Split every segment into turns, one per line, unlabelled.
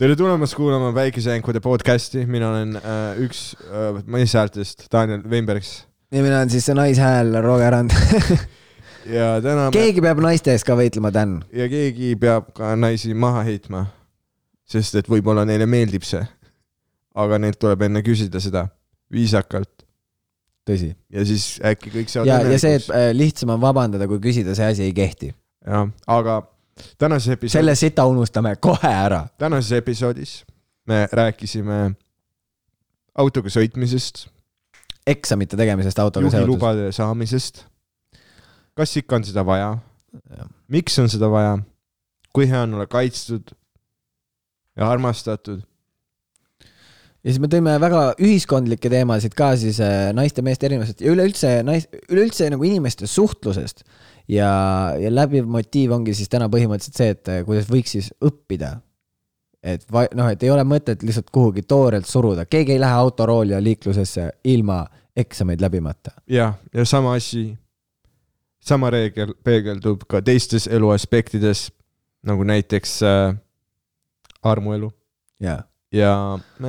tere tulemast kuulama Päikesejänkude podcasti , mina olen äh, üks äh, meessäärtest , Daniel Veinbergs
ja mina olen siis see naishääl , Roger Rand .
ja täna me...
keegi peab naiste eest ka võitlema , Dan .
ja keegi peab ka naisi maha heitma , sest et võib-olla neile meeldib see . aga neilt tuleb enne küsida seda viisakalt
tõsi .
ja siis äkki kõik saavad
ja , ja see , et . äh, lihtsam on vabandada , kui küsida , see asi ei kehti .
jah , aga tänases episoodis
selle sita unustame kohe ära .
Selle... tänases episoodis me rääkisime autoga sõitmisest ,
eksamite tegemisest autoga seoses .
juhilubade saamisest . kas ikka on seda vaja ? miks on seda vaja , kui hea on olla kaitstud ja armastatud .
ja siis me tõime väga ühiskondlikke teemasid ka siis äh, naiste-meeste erinevusest ja üleüldse nais- , üleüldse nagu inimeste suhtlusest . ja , ja läbiv motiiv ongi siis täna põhimõtteliselt see , et äh, kuidas võiks siis õppida . et va- , noh , et ei ole mõtet lihtsalt kuhugi toorelt suruda , keegi ei lähe autorooli ja liiklusesse ilma eksameid läbimata .
jah , ja sama asi , sama reegel peegeldub ka teistes elu aspektides , nagu näiteks äh, armuelu
jaa .
ja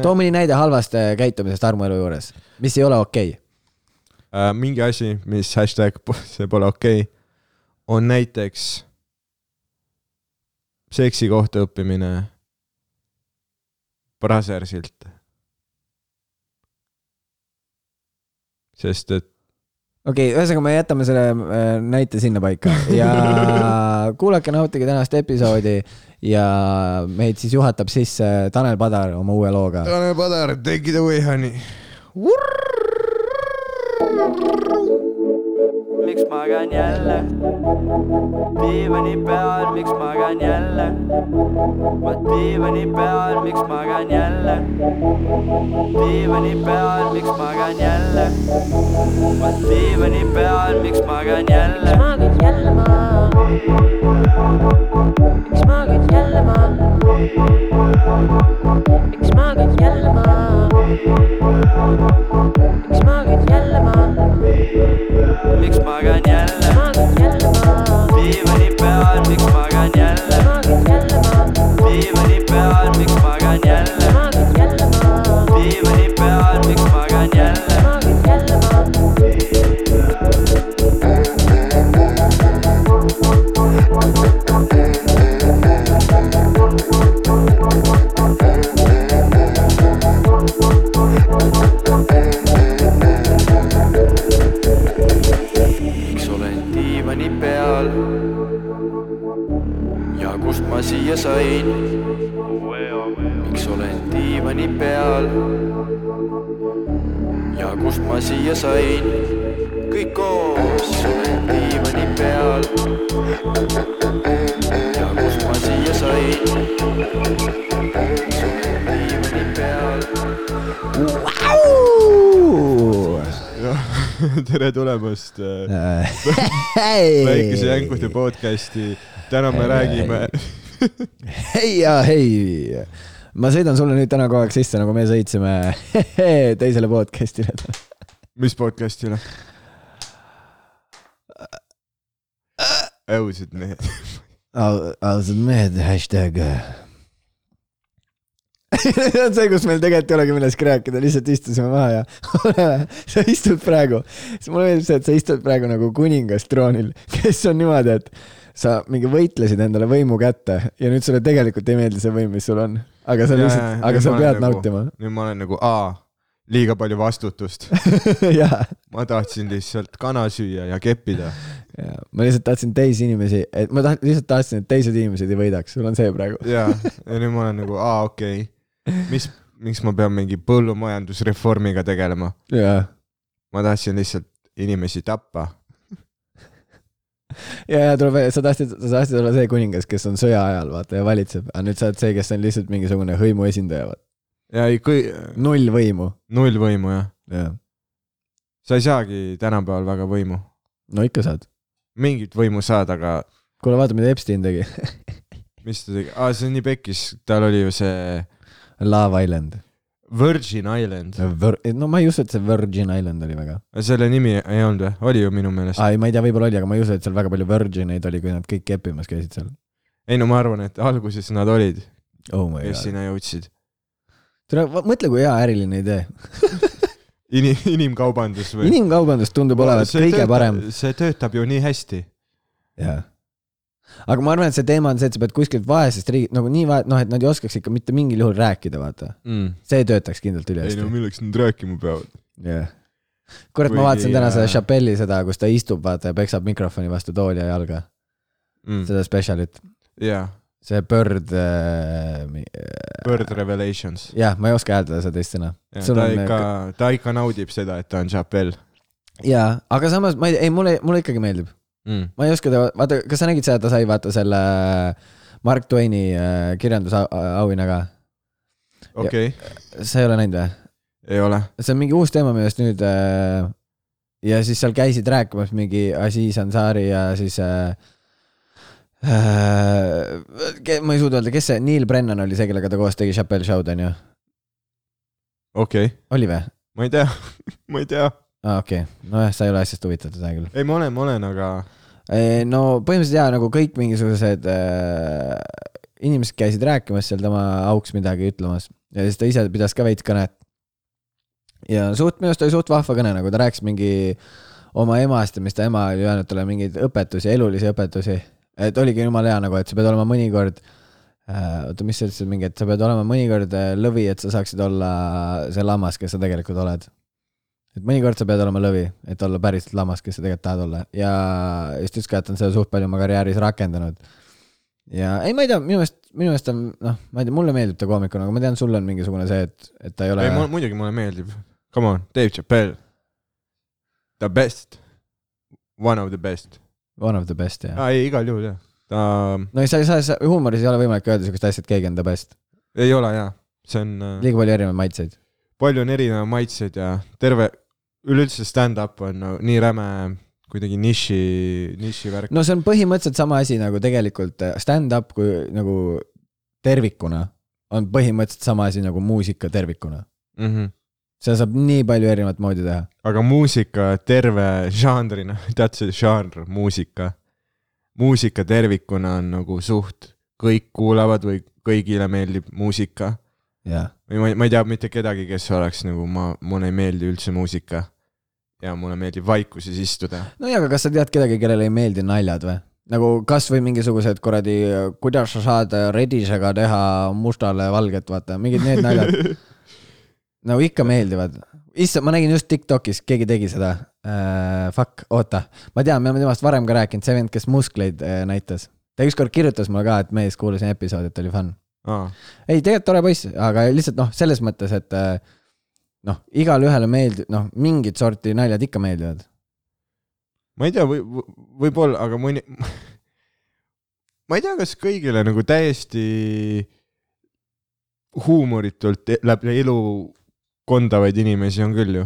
too mõni näide halvast äh, käitumisest armuelu juures , mis ei ole okei
äh,
okay. .
mingi asi , mis hashtag po- see pole okei okay, , on näiteks seksi kohta õppimine Brasersilt . sest et
okei okay, , ühesõnaga me jätame selle äh, näite sinnapaika ja kuulake , nautige tänast episoodi ja meid siis juhatab sisse Tanel Padar oma uue looga .
Tanel Padar , take it away , honey .
miks magan jälle ? diivani peal , miks magan jälle ? ma diivani peal , miks magan jälle ? diivani peal , miks magan jälle ? ma diivani peal , miks magan jälle ?
Smagen jälle maa . Ik smagen jälle maa . Ik smagen jälle maa. Ik smagen jälle maa.
miks magan jälle ?
Smagen jälle maa.
diivani peal , miks magan jälle ?
Smagen jälle maa.
diivani peal , miks magan jälle ?
Smagen jälle maa.
diivani peal , miks magan jälle ?
Smagen jälle maa.
miks olen diivani peal ja kust ma siia sain ? miks olen diivani peal ja kust ma siia sain ? kõik koos olen diivani peal ja kust ma siia sain ? diivani peal
tere tulemast äh, Väikese Jänkude podcasti . täna me räägime ,
hei ja hei . ma sõidan sulle nüüd täna kogu aeg sisse , nagu me sõitsime teisele podcast'ile .
mis noh? podcast'ile ? õudselt mehed .
ausad mehed , hashtag . see on see , kus meil tegelikult ei olegi millestki rääkida , lihtsalt istusime maha ja sa istud praegu , mulle meeldib see , et sa istud praegu nagu kuningas troonil , kes on niimoodi , et sa mingi võitlesid endale võimu kätte ja nüüd sulle tegelikult ei meeldi see võim , mis sul on , aga sa lihtsalt , aga sa pead nautima .
nüüd ma olen nagu , aa , liiga palju vastutust .
jaa ,
ma tahtsin lihtsalt kana süüa ja keppida .
jaa , ma lihtsalt tahtsin teisi inimesi , et ma taht- , lihtsalt tahtsin , et teised inimesed ei võidaks , sul on see praegu .
ja , ja nüüd ma olen nagu , aa , okei okay. , mis , miks ma pean mingi põllumajandusreformiga tegelema ?
jaa
ma tahtsin lihtsalt inimesi tappa .
ja , ja tuleb välja , sa tahtsid , sa tahtsid olla see kuningas , kes on sõja ajal vaata ja valitseb , aga nüüd sa oled see , kes on lihtsalt mingisugune hõimu esindaja ,
ja ei , kui ,
null võimu .
null võimu jah .
jah ,
sa ei saagi tänapäeval väga võimu ,
no ikka saad .
mingit võimu saad , aga
kuule , vaata , mida Epstein tegi .
mis ta tegi , aa see on nii pekkis , tal oli ju see
Love Island .
Virgin Island ,
no ma ei usu , et see Virgin Island oli väga .
selle nimi ei olnud või , oli ju minu meelest ?
aa , ei , ma ei tea , võib-olla oli , aga ma ei usu , et seal väga palju virgineid oli , kui nad kõik keppimas käisid seal .
ei no ma arvan , et alguses nad olid ,
oh my
kes
god .
sinna jõudsid .
tule , mõtle , kui hea äriline idee .
inim , inimkaubandus või ?
inimkaubandus tundub olevat kõige parem .
see töötab ju nii hästi .
jaa . aga ma arvan , et see teema on see , et sa pead kuskilt vaesest riigist nagu nii vae- , noh , et nad ei oskaks ikka mitte mingil juhul rääkida , vaata .
Mm.
see töötaks kindlalt
ei no
ülihästi .
milleks nad rääkima peavad ?
jah . kurat ,
Kuigi,
ma vaatasin täna seda
äh,
Chappelli seda , kus ta istub , vaata , ja peksab mikrofoni vastu tooli ja jalga . seda spetsialit ,
Mm. jaa ,
see Bird äh, .
Bird Revelations .
jah , ma ei oska hääldada seda teist sõna . Sul
ta
on, äh,
ikka , ta ikka naudib seda , et ta on Chappell
jaa , aga samas ma ei , ei mulle , mulle ikkagi meeldib .
mm. .
ma ei oska teda , vaata , kas sa nägid seda , et ta sai vaata selle äh, Mark Twaini äh, kirjandusauhinna ka ?
okei okay. ,
sa ei ole näinud või ?
ei ole .
see on mingi uus teema minu arust nüüd äh, . ja siis seal käisid rääkimas mingi Aziz Ansari ja siis äh, . Äh, ke- ma ei suuda öelda , kes see Neil Brennan oli see , kellega ta koos tegi Chappelle show'd onju ,
okei okay. ,
oli või ?
ma ei tea , ma ei tea .
aa ah, okei okay. , nojah , sa ei ole asjast huvitatud , hea küll .
ei , ma olen , ma olen , aga
Ei, no põhimõtteliselt jaa , nagu kõik mingisugused äh, inimesed käisid rääkimas seal tema auks midagi ütlemas ja siis ta ise pidas ka veits kõnet . ja suht , minu arust oli suht vahva kõne , nagu ta rääkis mingi oma emast ja mis ta ema oli öelnud talle mingeid õpetusi , elulisi õpetusi . et oligi jumala hea nagu , et sa pead olema mõnikord äh, , oota , mis sa ütlesid mingi , et sa pead olema mõnikord äh, lõvi , et sa saaksid olla see lammas , kes sa tegelikult oled et mõnikord sa pead olema lõvi , et olla päriselt lammas , kes sa tegelikult tahad olla ja just ütles ka , et on seda suht palju oma karjääris rakendanud . ja ei , ma ei tea , minu meelest , minu meelest on noh , ma ei tea , mulle meeldib ta koomikuna , aga ma tean , sul on mingisugune see , et , et ta ei ole
ei , mul muidugi mulle meeldib . Come on , Dave Chappell . The best . One of the best .
one of the best ja .
aa , ei , igal juhul jah . ta
no ei , sa ei saa, saa , huumoris ei ole võimalik öelda siukest asja , et keegi on the best .
ei ole jaa , see on , äh,
liiga palju erinevaid maitseid .
palju on erinevaid maitseid ja terve , üleüldse stand-up on no, nii räme kuidagi niši , niši värk .
no see on põhimõtteliselt sama asi nagu tegelikult äh, stand-up kui nagu tervikuna on põhimõtteliselt sama asi nagu muusika tervikuna .
Mm -hmm.
seda saab nii palju erinevat moodi teha .
aga muusika terve žanrina , tead see žanr , muusika , muusika tervikuna on nagu suht , kõik kuulavad või kõigile meeldib muusika
jah
või ma ei , ma ei tea mitte kedagi , kes oleks nagu ma , mulle ei meeldi üldse muusika . ja mulle meeldib vaikuses istuda .
no jaa , aga kas sa tead kedagi , kellele ei meeldi naljad või ? nagu kasvõi mingisugused kuradi , kuidas sa saad redisega teha mustale valget , vaata , mingid need naljad nagu ikka meeldivad . issand , ma nägin just Tiktokis , keegi tegi seda uh, . Fuck , oota , ma tean , me oleme temast varem ka rääkinud , see vend , kes muskleid uh, näitas . ta ükskord kirjutas mulle ka , et mees , kuulasin episoodi , et oli fun .
aa ,
ei , tegelikult tore poiss , aga lihtsalt noh , selles mõttes , et äh, noh , igale ühele meeldib , noh , mingit sorti naljad ikka meeldivad .
ma ei tea , või , võib-olla , aga mõni , ma ei tea , kas kõigile nagu täiesti huumoritult e- läbi elu kondavaid inimesi on küll ju .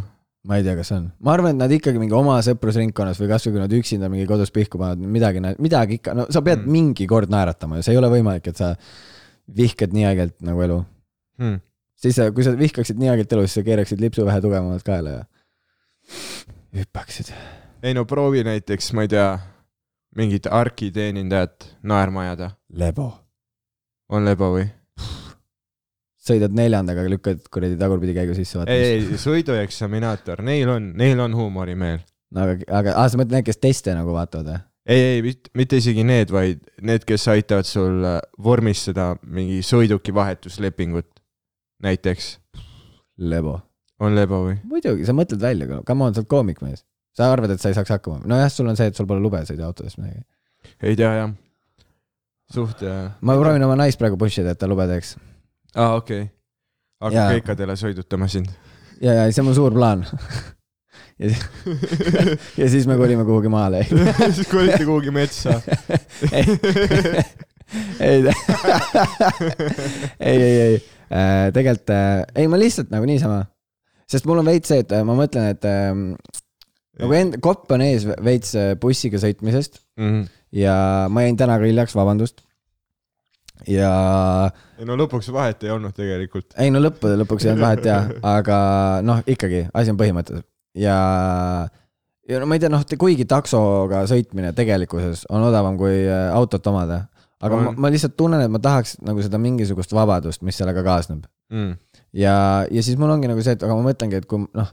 ma ei tea , kas on , ma arvan , et nad ikkagi mingi oma sõprusringkonnas või kasvõi kui nad üksinda mingi kodus pihku panevad , midagi , midagi ikka , no sa
Mm.
pead mm. mingi kord naeratama ju , see ei ole võimalik , et sa vihkad nii ägelt nagu elu .
Hmm.
siis sa- kui sa vihkaksid nii ägelt elu , siis sa keeraksid lipsu vähe tugevamalt kaela ja hüppaksid .
ei no proovi näiteks , ma ei tea , mingit arkiteenindajat naerma ajada ,
lebo .
on lebo või ?
sõidad neljandaga , lükkad kuradi tagurpidi käigu sisse , vaata .
ei , ei , sõidueksaminaator , neil on , neil on huumorimeel .
no aga , aga , aa , sa mõtled need , kes teste nagu vaatavad või ?
ei , ei , mitte , mitte isegi need , vaid need , kes aitavad sul äh, vormistada mingi sõiduki vahetuslepingut . näiteks ,
lebo .
on lebo või ?
muidugi , sa mõtled välja , come on , sa oled koomik mees . sa arvad , et sa ei saaks hakkama , nojah , sul on see , et sul pole lube sõiduautodest midagi .
ei tea jah . suht äh... .
ma proovin oma naist praegu push ida , et ta lube teeks .
aa ah, , okei okay. .
Jaa.
hakkab kõikadele sõidutama sind .
ja , ja see on mu suur plaan . ja siis , ja siis me kolime kuhugi maale .
siis kolite kuhugi metsa .
ei , ei , ei , ei , ei , tegelikult äh, ei , ma lihtsalt nagu niisama , sest mul on veits see , et äh, ma mõtlen , et ähm, nagu end- , kopp on ees veits äh, bussiga sõitmisest
ei
ja ma jäin täna ka hiljaks , vabandust . ja
no lõpuks vahet ei olnud tegelikult .
ei no lõppude lõpuks ei olnud vahet jaa , aga noh , ikkagi asi on põhimõttes ja , ja no ma ei tea , noh , kuigi taksoga sõitmine tegelikkuses on odavam kui äh, autot omada , aga ma,
On.
ma lihtsalt tunnen , et ma tahaks nagu seda mingisugust vabadust , mis sellega kaasneb .
mm. .
ja , ja siis mul ongi nagu see , et aga ma mõtlengi , et kui noh ,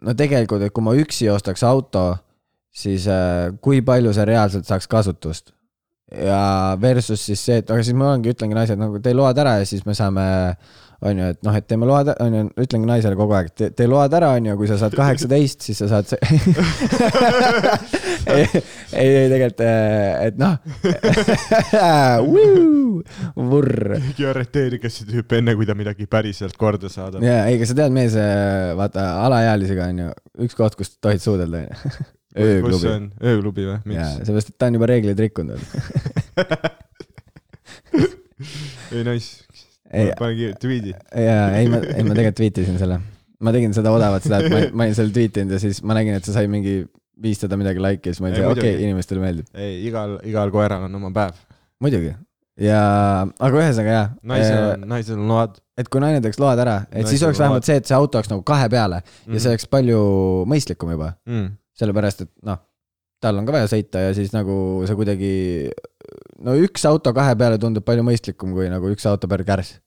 no tegelikult , et kui ma üksi ostaks auto , siis äh, kui palju see reaalselt saaks kasutust . ja versus siis see , et aga siis ma olengi , ütlengi naisele nagu tee load ära ja siis me saame , on ju , et noh , et teeme load , on ju , ütlengi naisele kogu aeg , et tee, tee load ära , on ju , kui sa saad kaheksateist , siis sa saad see ei , ei , ei tegelikult , et noh , vurr .
keegi arreteerige see tüüp enne , kui ta midagi päriselt korda saadab .
ja ei , aga sa tead , mees , vaata alaealisega on ju üks koht , kus tohid suudelda , on ju .
kus see
ööklubi .
on , ööklubi või ,
jaa ,
miks ?
seepärast , et ta on juba reegleid rikkunud .
ei nice ,
ei ,
panegi tweet'i .
jaa , ei ma , ei ma tegelikult tweetisin selle . ma tegin seda odavat , seda , et ma, ma olin selle tweetinud ja siis ma nägin , et see sai mingi viissada midagi like'i ja siis ma olin
Ei,
see , okei
muidugi.
okay, , inimestele meeldib .
ei , igal , igal koeral on oma päev .
muidugi . ja , aga ühesõnaga jaa .
naisel on , naisel on load .
et kui naine teeks load ära , et siis
Naisel Mhm.
oleks
on
vähemalt see , et see auto oleks nagu kahe peale ja see oleks palju mõistlikum juba ,
mm. .
sellepärast et noh , tal on ka vaja sõita ja siis nagu see kuidagi , no üks auto kahe peale tundub palju mõistlikum kui nagu üks auto per kärs .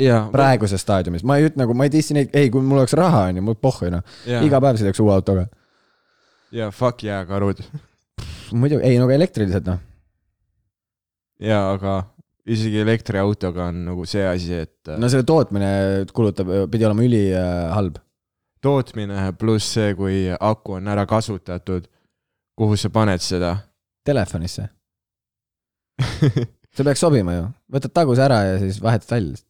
jaa ,
praeguses staadiumis , ma ei ütle nagu , ma ei dissi neid , ei , kui mul oleks raha , on ju , mul pohhu noh , iga
jaa ,
päev sõidaks uue autoga .
jaa , fuck jaa , karud .
muidu , ei no aga elektrilised noh ,
jaa , aga isegi elektriautoga on nagu see asi , et no.
no selle tootmine kulutab , pidi olema ülihalb .
tootmine pluss see , kui aku on ära kasutatud , kuhu sa paned seda
Telefonisse , see peaks sobima ju , võtad taguse ära ja siis vahetad välja .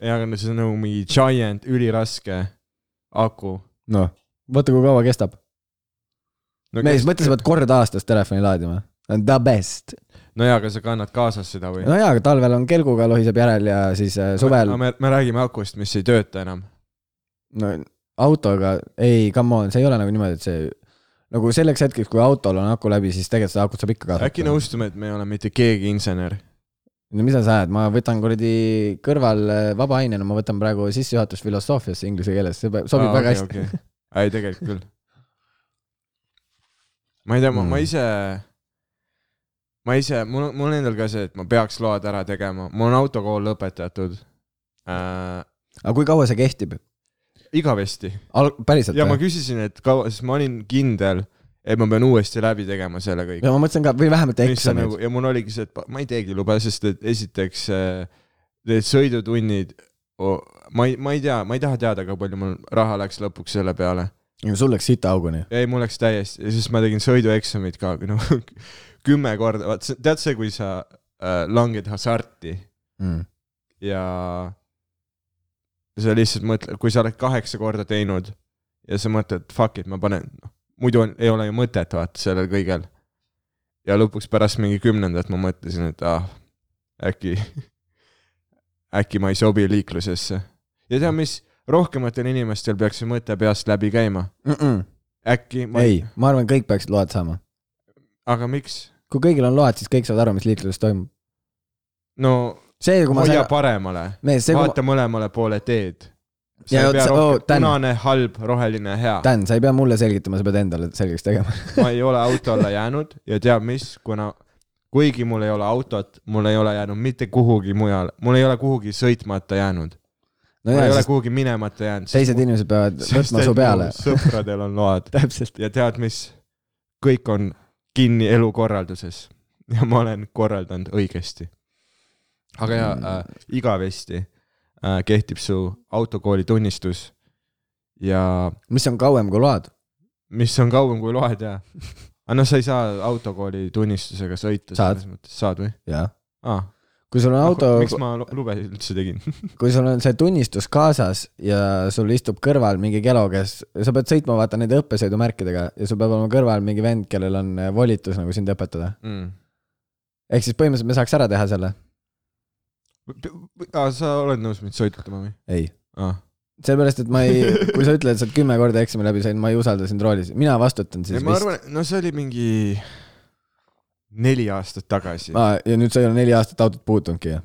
jaa , aga no see on nagu mingi giant , üliraske aku
noh , vaata kui kaua kestab .
no,
mees , mõtle , sa pead kord aastas telefoni laadima . The best .
no jaa , aga sa kannad kaasas seda või ?
no jaa , aga talvel on kelguga lohiseb järel ja siis äh, suvel ,
me , me räägime akust , mis ei tööta enam .
no autoga , ei , come on , see ei ole nagu niimoodi , et see nagu selleks hetkeks , kui autol on aku läbi , siis tegelikult seda akut saab ikka kasutada .
äkki . nõustume , et me ei ole mitte keegi insener ?
no mida sa ajad , ma võtan kuradi kõrval äh, vaba ainena , ma võtan praegu sissejuhatust filosoofiasse inglise keeles , see pe- sobib ah, väga okay, hästi okay. .
okay. . ei , tegelikult küll . ma ei tea , ma , ma
Mm.
ise , ma ise , mul , mul on endal ka see , et ma peaks load ära tegema , mul on autokool lõpetatud äh, .
aga kui kaua see kehtib ?
igavesti
Al- , päriselt
ja ma
või ?
küsisin , et kaua , siis ma olin kindel , et ma pean uuesti läbi tegema selle kõik .
ja ma mõtlesin ka , või vähemalt
mis on
eksamid
nagu . ja mul oligi see , et pa- ma ei teegi lube , sest et esiteks äh, need sõidutunnid oh, , ma ei , ma ei tea , ma ei taha teada , kui palju mul raha läks lõpuks selle peale .
sul läks sita auguni .
ei , mul läks täiesti , siis ma tegin sõidueksamid ka , noh kümme korda , vaat see- tead see , kui sa äh, langed hasarti
Mm.
ja sa lihtsalt mõtled , kui sa oled kaheksa korda teinud ja sa mõtled , fuck it , ma panen , noh , muidu on, ei ole ju mõtet vaata sellel kõigel . ja lõpuks pärast mingi kümnendat ma mõtlesin , et ah , äkki , äkki ma ei sobi liiklusesse . ja tead , mis , rohkematel inimestel peaks see mõte peast läbi käima . äkki ma
ei , ma arvan , kõik peaksid load saama .
aga miks ?
kui kõigil on load , siis kõik saavad aru , mis liikluses toimub .
no
see , kui ma
hoia
sain
sain... , paremale ,
mees , see , kui
vaata mõlemale poole teed . sa
Ja
ei
vot
pea
see- oo,
rohkem ,
Dan.
punane , halb , roheline , hea
ma ,. Dan , sa ei pea mulle selgitama , sa pead endale selgeks tegema .
ma ei ole auto alla jäänud ja teab mis , kuna kuigi mul ei ole autot , mul ei ole jäänud mitte kuhugi mujale , mul ei ole kuhugi sõitmata jäänud ,
no
mul ei
jaa ,
ole
sest
kuhugi minemata jäänud .
teised inimesed peavad võtma su peale .
sõpradel on load
täpselt .
ja tead mis , kõik on kinni elukorralduses ja ma olen korraldanud õigesti . aga jaa
Mm.
äh, , igavesti äh, kehtib su autokooli tunnistus ja
mis on kauem kui load .
mis on kauem kui loed ja . aga noh , sa ei saa autokooli tunnistusega sõita .
Saad. .
saad või ?
jaa .
aa ,
kui sul on auto ,
miks ma lu- lube üldse tegin ?
kui sul on see tunnistus kaasas ja sul istub kõrval mingi kelo , kes , sa pead sõitma , vaata nende õppesõidumärkidega ja sul peab olema kõrval mingi vend , kellel on äh, volitus nagu sind õpetada . ehk siis põhimõtteliselt me saaks ära teha selle .
aa , ah, sa oled nõus mind sõitutama või ? Ah.
ei .
aa ,
seepärast , et ma ei , kui sa ütled , et sa oled kümme korda eksami läbi saanud , ma ei usalda sind roolis , mina vastutan siis
ei ma
vist .
arvan , no see oli mingi neli aastat tagasi .
Ah, ja nüüd sa ei ole neli aastat autot puutunudki ,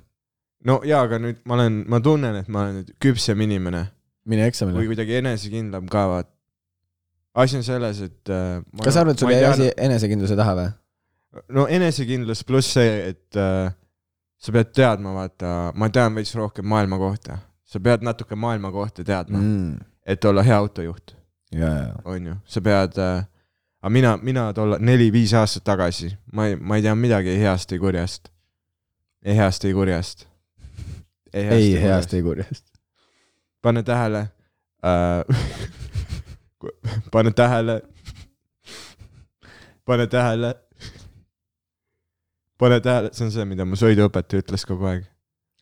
no jaa , aga nüüd ma olen , ma tunnen , et ma olen nüüd küpsem inimene
mine
või
eksamile .
kuidagi enesekindlam ka vaata . asi on selles , et äh, . noh,
kas sa arvad , sul jäi asi ? enesekindluse taha või ?
no enesekindlus pluss see , et äh, sa pead teadma , vaata , ma tean veits rohkem maailma kohta . sa pead natuke maailma kohta teadma mm. ,
mm. .
et olla hea autojuht ,
ja , ja ,
onju . sa pead äh, , aga mina , mina tolla neli-viis aastat tagasi , ma ei , ma ei teadnud midagi ei heast , ei kurjast . ei heast , ei kurjast .
ei heast , ei kurjast .
pane tähele äh, . pane tähele . pane tähele . pane tähele , see on see , mida mu sõiduõpetaja ütles kogu aeg ,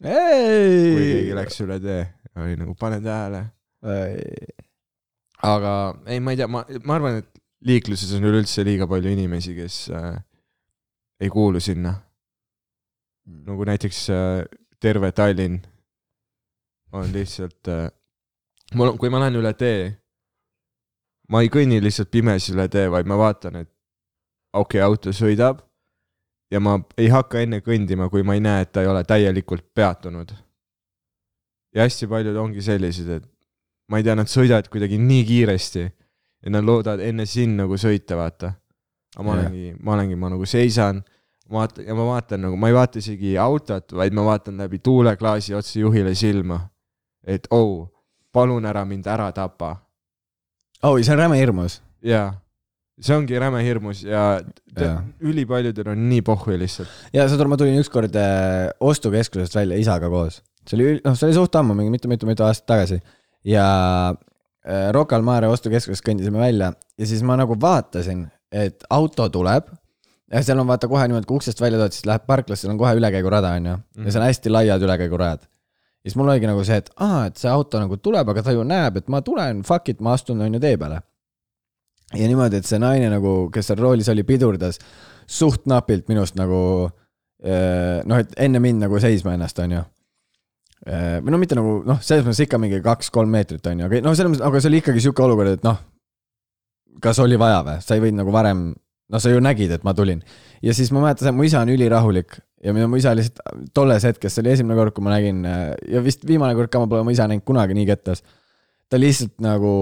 kui
ei
keegi , läks üle tee , oli nagu pane tähele . aga ei , ma ei tea , ma , ma arvan , et liikluses on üleüldse liiga palju inimesi , kes äh, ei kuulu sinna , nagu näiteks äh, terve Tallinn on lihtsalt äh, , mul on , kui ma lähen üle tee , ma ei kõnni lihtsalt pimesi üle tee , vaid ma vaatan , et okei okay, , auto sõidab ja ma ei hakka enne kõndima , kui ma ei näe , et ta ei ole täielikult peatunud . ja hästi paljud ongi sellised , et ma ei tea , nad sõidavad kuidagi nii kiiresti ja nad loodavad enne sinna , kui sõita , vaata . aga ma
Jah.
olengi , ma olengi , ma nagu seisan , vaatan ja ma vaatan nagu , ma ei vaata isegi autot , vaid ma vaatan läbi tuuleklaasi otse juhile silma . et oo oh, , palun ära mind ära tapa Nagu-
oi , see on räme hirmus .
jaa , see ongi räme hirmus ja
Jaa.
tead , ülipaljudel on nii pohhu lihtsalt .
ja saad aru , ma tulin ükskord äh, ostukeskusest välja isaga koos , see oli , noh , see oli suht ammu , mingi mitu-mitu-mitu aastat tagasi ja äh, Rocca al Mare ostukeskusest kõndisime välja ja siis ma nagu vaatasin , et auto tuleb . ja seal on vaata kohe niimoodi , kui uksest välja tuled , siis läheb parklasse , seal on kohe ülekäigurada , onju , ja seal on hästi laiad ülekäigurajad ja siis mul oligi nagu see , et aa , et see auto nagu tuleb , aga ta ju näeb , et ma tulen , fuck it , ma astun on ju tee peale . ja niimoodi , et see naine nagu , kes seal roolis oli , pidurdas suht napilt minust nagu eh, noh , et enne mind nagu seisma ennast , onju . või no mitte nagu noh , selles mõttes ikka mingi kaks-kolm meetrit onju , aga noh , selles mõttes , aga see oli ikkagi sihuke olukord , et noh . kas oli vaja või , sa ei võinud nagu varem , noh , sa ju nägid , et ma tulin ja siis ma mäletan , mu isa on ülirahulik ja minu mu isa lihtsalt tolles hetkes , see oli esimene kord , kui ma nägin äh, ja vist viimane kord ka , ma pole oma isa näinud kunagi nii kettas . ta lihtsalt nagu ,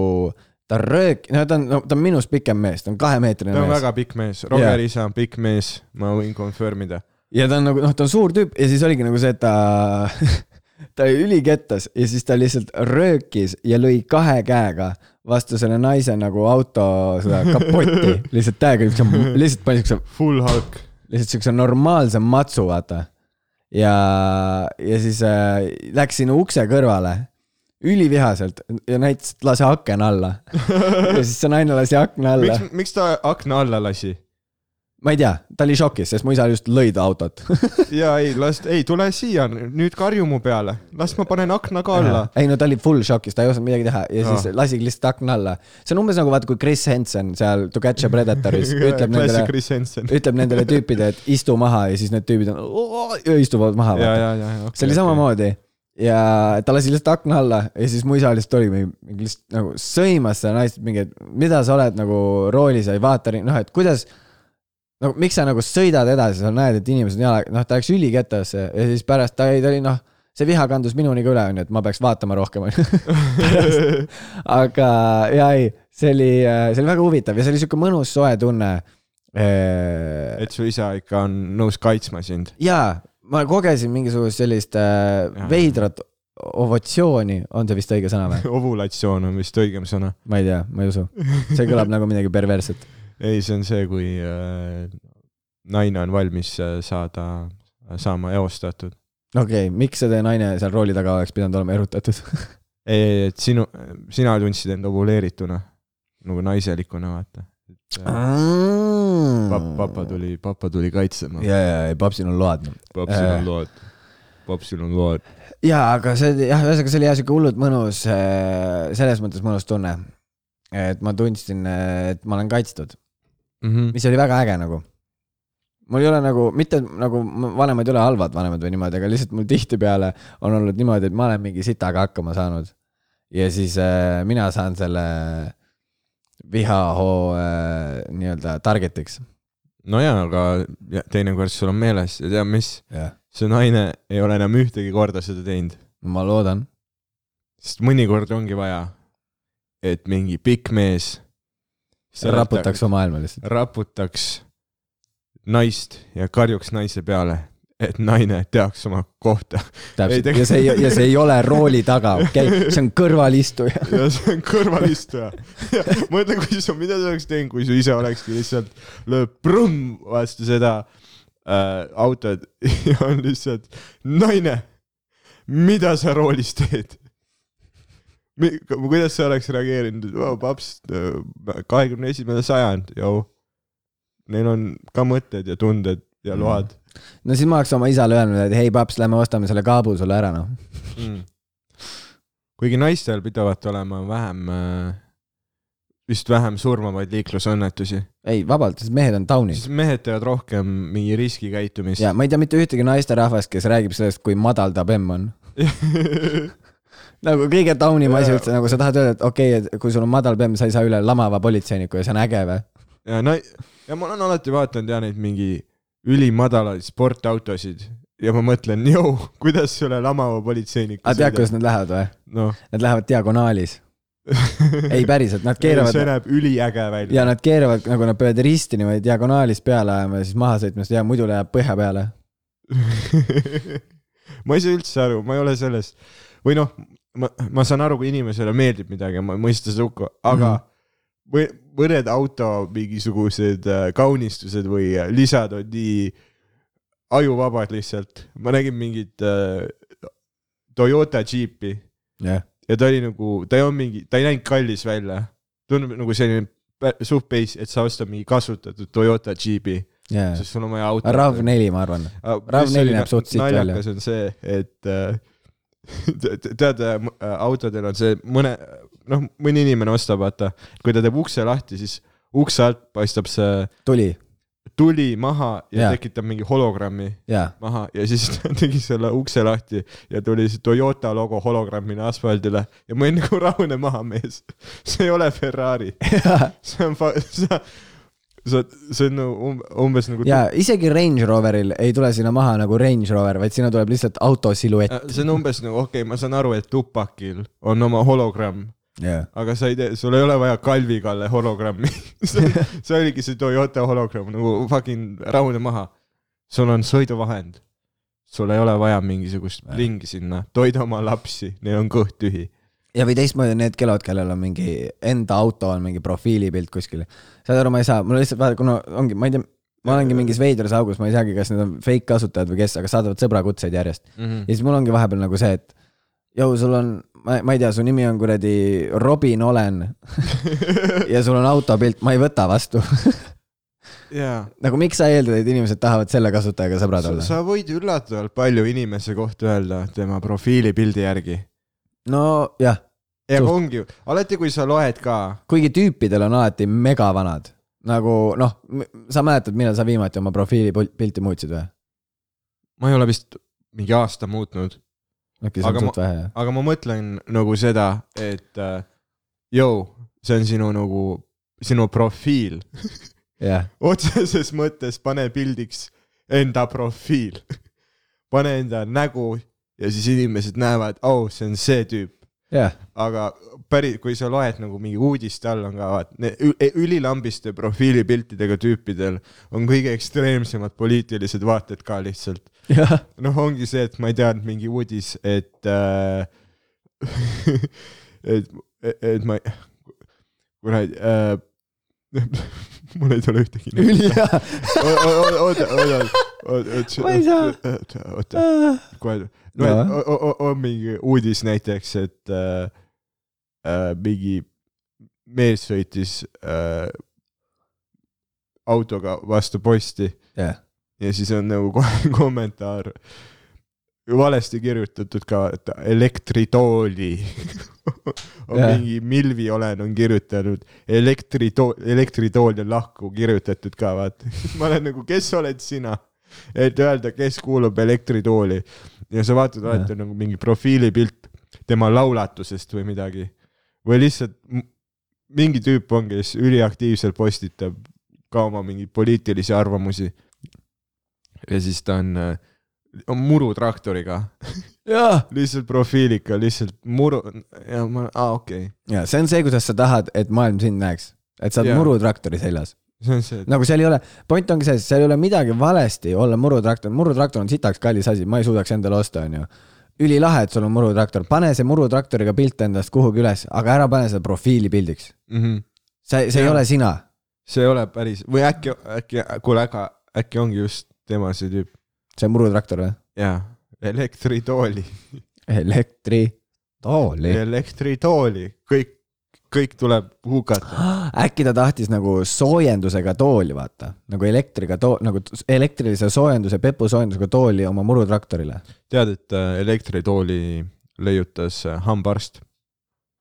ta röök- , no ta on no, , ta on minust pikem mees , ta on kahemeetrine
ta on
mees
väga pikk mees , Roger
Jaa.
yeah. isa on pikk mees , ma võin confirm ida .
ja ta on nagu noh , ta on suur tüüp ja siis oligi nagu see , et ta , ta ülikettas ja siis ta lihtsalt röökis ja lõi kahe käega vastu selle naise nagu auto seda kapotti , lihtsalt täiega , lihtsalt pani siukse ,
Full Hulk .
lihtsalt siukse normaalse matsu , vaata . ja , ja siis äh, läks sinna ukse kõrvale ülivihaselt ja näitas , et lase aken alla . ja siis see naine lasi akna alla
miks ,, miks ta akna alla lasi ?
ma ei tea , ta oli šokis , sest mu isa just lõi ta autot
jaa , ei , las , ei , tule siia , nüüd karju mu peale , las ma panen akna ka alla .
ei no ta oli full shock'is , ta ei osanud midagi teha ja siis
Aa.
lasigi lihtsalt akna alla . see on umbes nagu vaata , kui Chris Hansen seal To Catch a Predatoris ütleb
klassik
nendele ,
Chris Hansen .
ütleb nendele tüüpidele , et istu maha ja siis need tüübid on , istuvad maha .
ja , ja , ja , ja .
see oli . samamoodi ja ta lasi lihtsalt akna alla ja siis mu isa lihtsalt oli mingi mingi lihtsalt nagu sõimas seda naist mingi , et mida sa oled nagu roolis ja ei vaata , noh , et kuidas . no miks sa nagu sõidad edasi , sa näed , et inimesed on jala , noh , ta läks üliketasse ja siis pärast ta ei , ta oli noh , see viha kandus minuni ka üle , onju , et ma peaks vaatama rohkem , onju . aga ja ei , see oli , see oli väga huvitav ja see oli sihuke mõnus soe tunne . eh,
et su isa ikka on nõus kaitsma sind .
jaa , ma kogesin mingisugust sellist äh,
Jaa.
veidrat ovotsiooni , on see vist õige sõna või ?
ovulatsioon on vist õigem sõna .
ma ei tea , ma ei usu . see kõlab nagu midagi perversset .
ei , see on see , kui äh, naine on valmis äh, saada , saama eostatud .
okei okay, , miks see teie naine seal rooli taga oleks pidanud olema erutatud ?
ei , ei , et sinu , sina tundsid end ovuleerituna , nagu naiselikuna , vaata .
Ah. Mm.
Pap, papa
papa
tuli , papa tuli kaitsema .
ja , ja , ja papsil on load .
papsil
Äh.
on lood , papsil on lood .
jaa , aga see oli jah , ühesõnaga see oli jah siuke hullult mõnus , selles mõttes mõnus tunne . et ma tundsin , et ma olen kaitstud . mis oli väga äge nagu . mul ei ole nagu , mitte nagu mu vanemad ei ole halvad vanemad või niimoodi , aga lihtsalt mul tihtipeale on olnud niimoodi , et ma olen mingi sitaga hakkama saanud . ja siis äh, mina saan selle vihahoo äh, nii-öelda target'iks .
no jaa , aga ja- teinekord sul on meeles ja tead mis ,
jah ,
see naine ei ole enam ühtegi korda seda teinud ,
ma loodan .
sest mõnikord ongi vaja , et mingi pikk mees .
raputaks su maailma lihtsalt .
raputaks naist ja karjuks naise peale , et naine teaks oma kohta . Ei
täpselt ,
tegu-
ja see ei , ja see ei ole rooli taga , okei okay? , see on kõrvalistuja .
ja see on kõrvalistuja . mõtle , kui sa , mida sa oleks teinud , kui sa ise olekski lihtsalt lööb prumm vastu seda äh, autot ja on lihtsalt naine , mida sa roolis teed ? kuidas sa oleks reageerinud , paps , kahekümne esimene sajand , jõu . Neil on ka mõtted ja tunded ja load
no siis ma oleks oma isale öelnud , et hei paps , lähme ostame selle kaabu sulle ära , noh .
mm. . kuigi naistel pidavat olema vähem , vist vähem surmavaid liiklusõnnetusi ,
ei , vabalt , sest mehed on taunid .
siis mehed teevad rohkem mingi riskikäitumist
ja . ma ei tea mitte ühtegi naisterahvast , kes räägib sellest , kui madal ta bemm on . nagu kõige taunim asi üldse , nagu sa tahad öelda , et okei okay, , et kui sul on madal bemm , sa ei saa üle lamava politseiniku ja see on äge või ?
ja na- , ja ma olen alati vaadanud ja neid mingi ülimadalaid sportautosid ja ma mõtlen , jõu , kuidas selle lamava politseiniku
aga Ah, tead , kuidas nad lähevad või ?
noh .
Nad lähevad diagonaalis . ei , päriselt , nad
see
keeravad
näeb üliäge välja
ja . nad keeravad nagu nad peavad risti niimoodi diagonaalis peale ajama ja siis maha sõitma , sest ja muidu läheb põhja peale .
ma ei saa üldse aru , ma ei ole selles , või noh , ma , ma saan aru , kui inimesele meeldib midagi , ma ei mõista seda hukka , aga
Mhm.
või mõned auto mingisugused äh, kaunistused või äh, lisad on nii ajuvabad lihtsalt . ma nägin mingit äh, Toyota džiipi
jah ,
ja ta oli nagu , ta ei olnud mingi , ta ei näinud kallis välja . tundub nagu selline pä- suht base , et sa ostad mingi kasutatud Toyota džiibi ,
ja ,
sest sul on vaja autot .
RAV neli , ma arvan .
Äh,
Rav neli näeb suht siit välja.
naljakas on see , et äh, te- te- tead , äh, autodel on see mõne , noh , mõni inimene ostab , vaata , kui ta teeb ukse lahti , siis ukse alt paistab see
tuli ,
tuli maha ja, ja.
Jaa.
tekitab mingi hologrammi
jaa .
maha ja siis ta tegi selle ukse lahti ja tuli see Toyota logo hologrammina asfaldile ja ma olin nagu rahune maha mees . see ei ole Ferrari , see on , sa , sa , see on nagu um- umbes nagu
ja isegi Range Roveril ei tule sinna maha nagu Range Rover , vaid sinna tuleb lihtsalt auto siluett .
Äh, see on umbes nagu , okei okay, , ma saan aru , et Tupakil on oma hologramm ,
jah ,
aga sa ei tee , sul ei ole vaja Kalvi Kalle hologrammi . see oligi see Toyota hologramm , nagu fucking rahune maha . sul on sõiduvahend . sul ei ole vaja mingisugust plingi sinna , toida oma lapsi , neil on kõht tühi .
ja või teistmoodi on need kelod , kellel on mingi enda auto on mingi profiilipilt kuskil . saad aru , ma ei saa , mul lihtsalt vaata , kuna ongi , ma ei tea , ma olengi mingis veidras augus , ma ei teagi , kas need on fake kasutajad või kes , aga saadavad sõbrakutseid järjest . ja siis mul ongi vahepeal nagu see , et jõu , sul on , ma , ma ei tea , su nimi on kuradi Robin Olen ja sul on autopilt , ma ei võta vastu .
jaa ,
nagu miks sa eeldad , et inimesed tahavad selle kasutajaga sõbrad olla ?
sa võid üllatavalt palju inimese kohta öelda tema profiilipildi järgi .
nojah
ja
Suht-
ongi , alati kui sa loed ka ,
kuigi tüüpidel on alati megavanad , nagu noh , sa mäletad , millal sa viimati oma profiilipilti muutsid või ?
ma ei ole vist mingi aasta muutnud .
äkki see Noh, on
Aga
suht vähe jah ?
aga ma mõtlen nagu seda , et äh, jõu , see on sinu nagu , sinu profiil .
jah ,
otseses mõttes pane pildiks enda profiil . pane enda nägu ja siis inimesed näevad , oh , see on see tüüp .
jah ,
aga päris , kui sa loed nagu mingi uudiste all on ka vaat- ne- ü- e-, ülilambiste profiilipiltidega tüüpidel on kõige ekstreemsemad poliitilised vaated ka lihtsalt .
jah ,
noh , ongi see , et ma ei teadnud mingi uudis , et äh, et , et ma , kuradi äh, , mul ei tule ühtegi nime .
ülihea .
oota , oota , oota , oota ,
Ma ei saa.
oota , oota , kohe , no
Jaa.
et o- o- o- on mingi uudis näiteks , et äh, äh, mingi mees sõitis äh, autoga vastu posti
jah ,
ja siis on nagu kohe kommentaar valesti kirjutatud ka , et elektritooli on
Jah.
yeah. mingi Milvi Olen on kirjutanud elektritool , elektritool on lahku kirjutatud ka vaata . ma olen nagu , kes oled sina , et öelda , kes kuulub elektritooli ja sa vaatad , alati on nagu mingi profiilipilt tema laulatusest või midagi või lihtsalt m- mingi tüüp on , kes üliaktiivselt postitab ka oma mingeid poliitilisi arvamusi . ja siis ta on , on murutraktoriga ,
jah .
lihtsalt profiiliga , lihtsalt muru ja ma , aa okei okay. ,
ja see on see , kuidas sa tahad , et maailm sind näeks , et sa oled
Jaa.
murutraktori seljas .
see on see , et
nagu seal ei ole , point ongi selles , seal ei ole midagi valesti olla murutraktor , murutraktor on sitaks kallis asi , ma ei suudaks endale osta , onju . ülilahe , et sul on murutraktor , pane see murutraktoriga pilt endast kuhugi üles , aga ära pane seda profiili pildiks .
mm -hmm.
see , see ei
Jaa.
ole sina .
see ei ole päris või äkki , äkki , kuule , aga äkki ongi just tema see tüüp
see on murutraktor või ?
jaa , elektritooli ,
elektritooli .
elektritooli , kõik , kõik tuleb hukata .
äkki ta tahtis nagu soojendusega tooli , vaata , nagu elektriga tool , nagu t- elektrilise soojenduse , pepusoojendusega tooli oma murutraktorile .
tead , et äh, elektritooli leiutas äh, hambaarst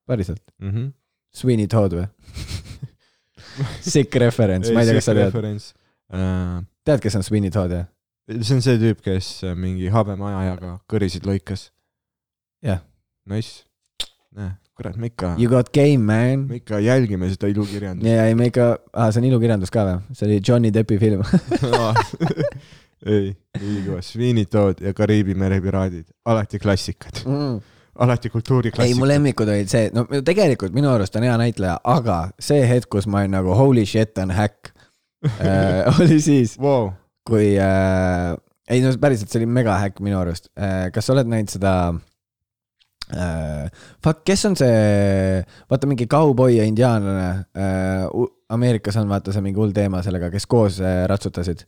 päriselt .
mm ? -hmm.
Sweeney Todd või ? Sick reference , ma ei tea , kas sa tead ,
tead .
tead , kes on Sweeney Todd jah ?
Äh, see on see tüüp , kes äh, mingi habemajajaga kõrisid lõikas .
Jah. .
Nice . näe , kurat , me ikka ,
You got game , man .
me ikka jälgime seda ilukirjandust
ja , ja me ikka , aa , Ah, see on ilukirjandus ka või ? see oli Johnny Deppi film .
ei , nii kõva , Sviinitood ja Kariibi mere piraadid , alati klassikad ,
Mm.
alati
ei , mu
kultuuriklassikad .
lemmikud olid see , no tegelikult minu arust on hea näitleja , aga see hetk , kus ma olin nagu holy shit , on häkk äh, , oli siis ,
Wow.
kui äh, , ei no päriselt , see oli mega häkk minu arust äh, . kas sa oled näinud seda äh, , fuck , kes on see , vaata mingi kauboi ja indiaanlane äh, , Ameerikas on vaata see mingi hull teema sellega , kes koos äh, ratsutasid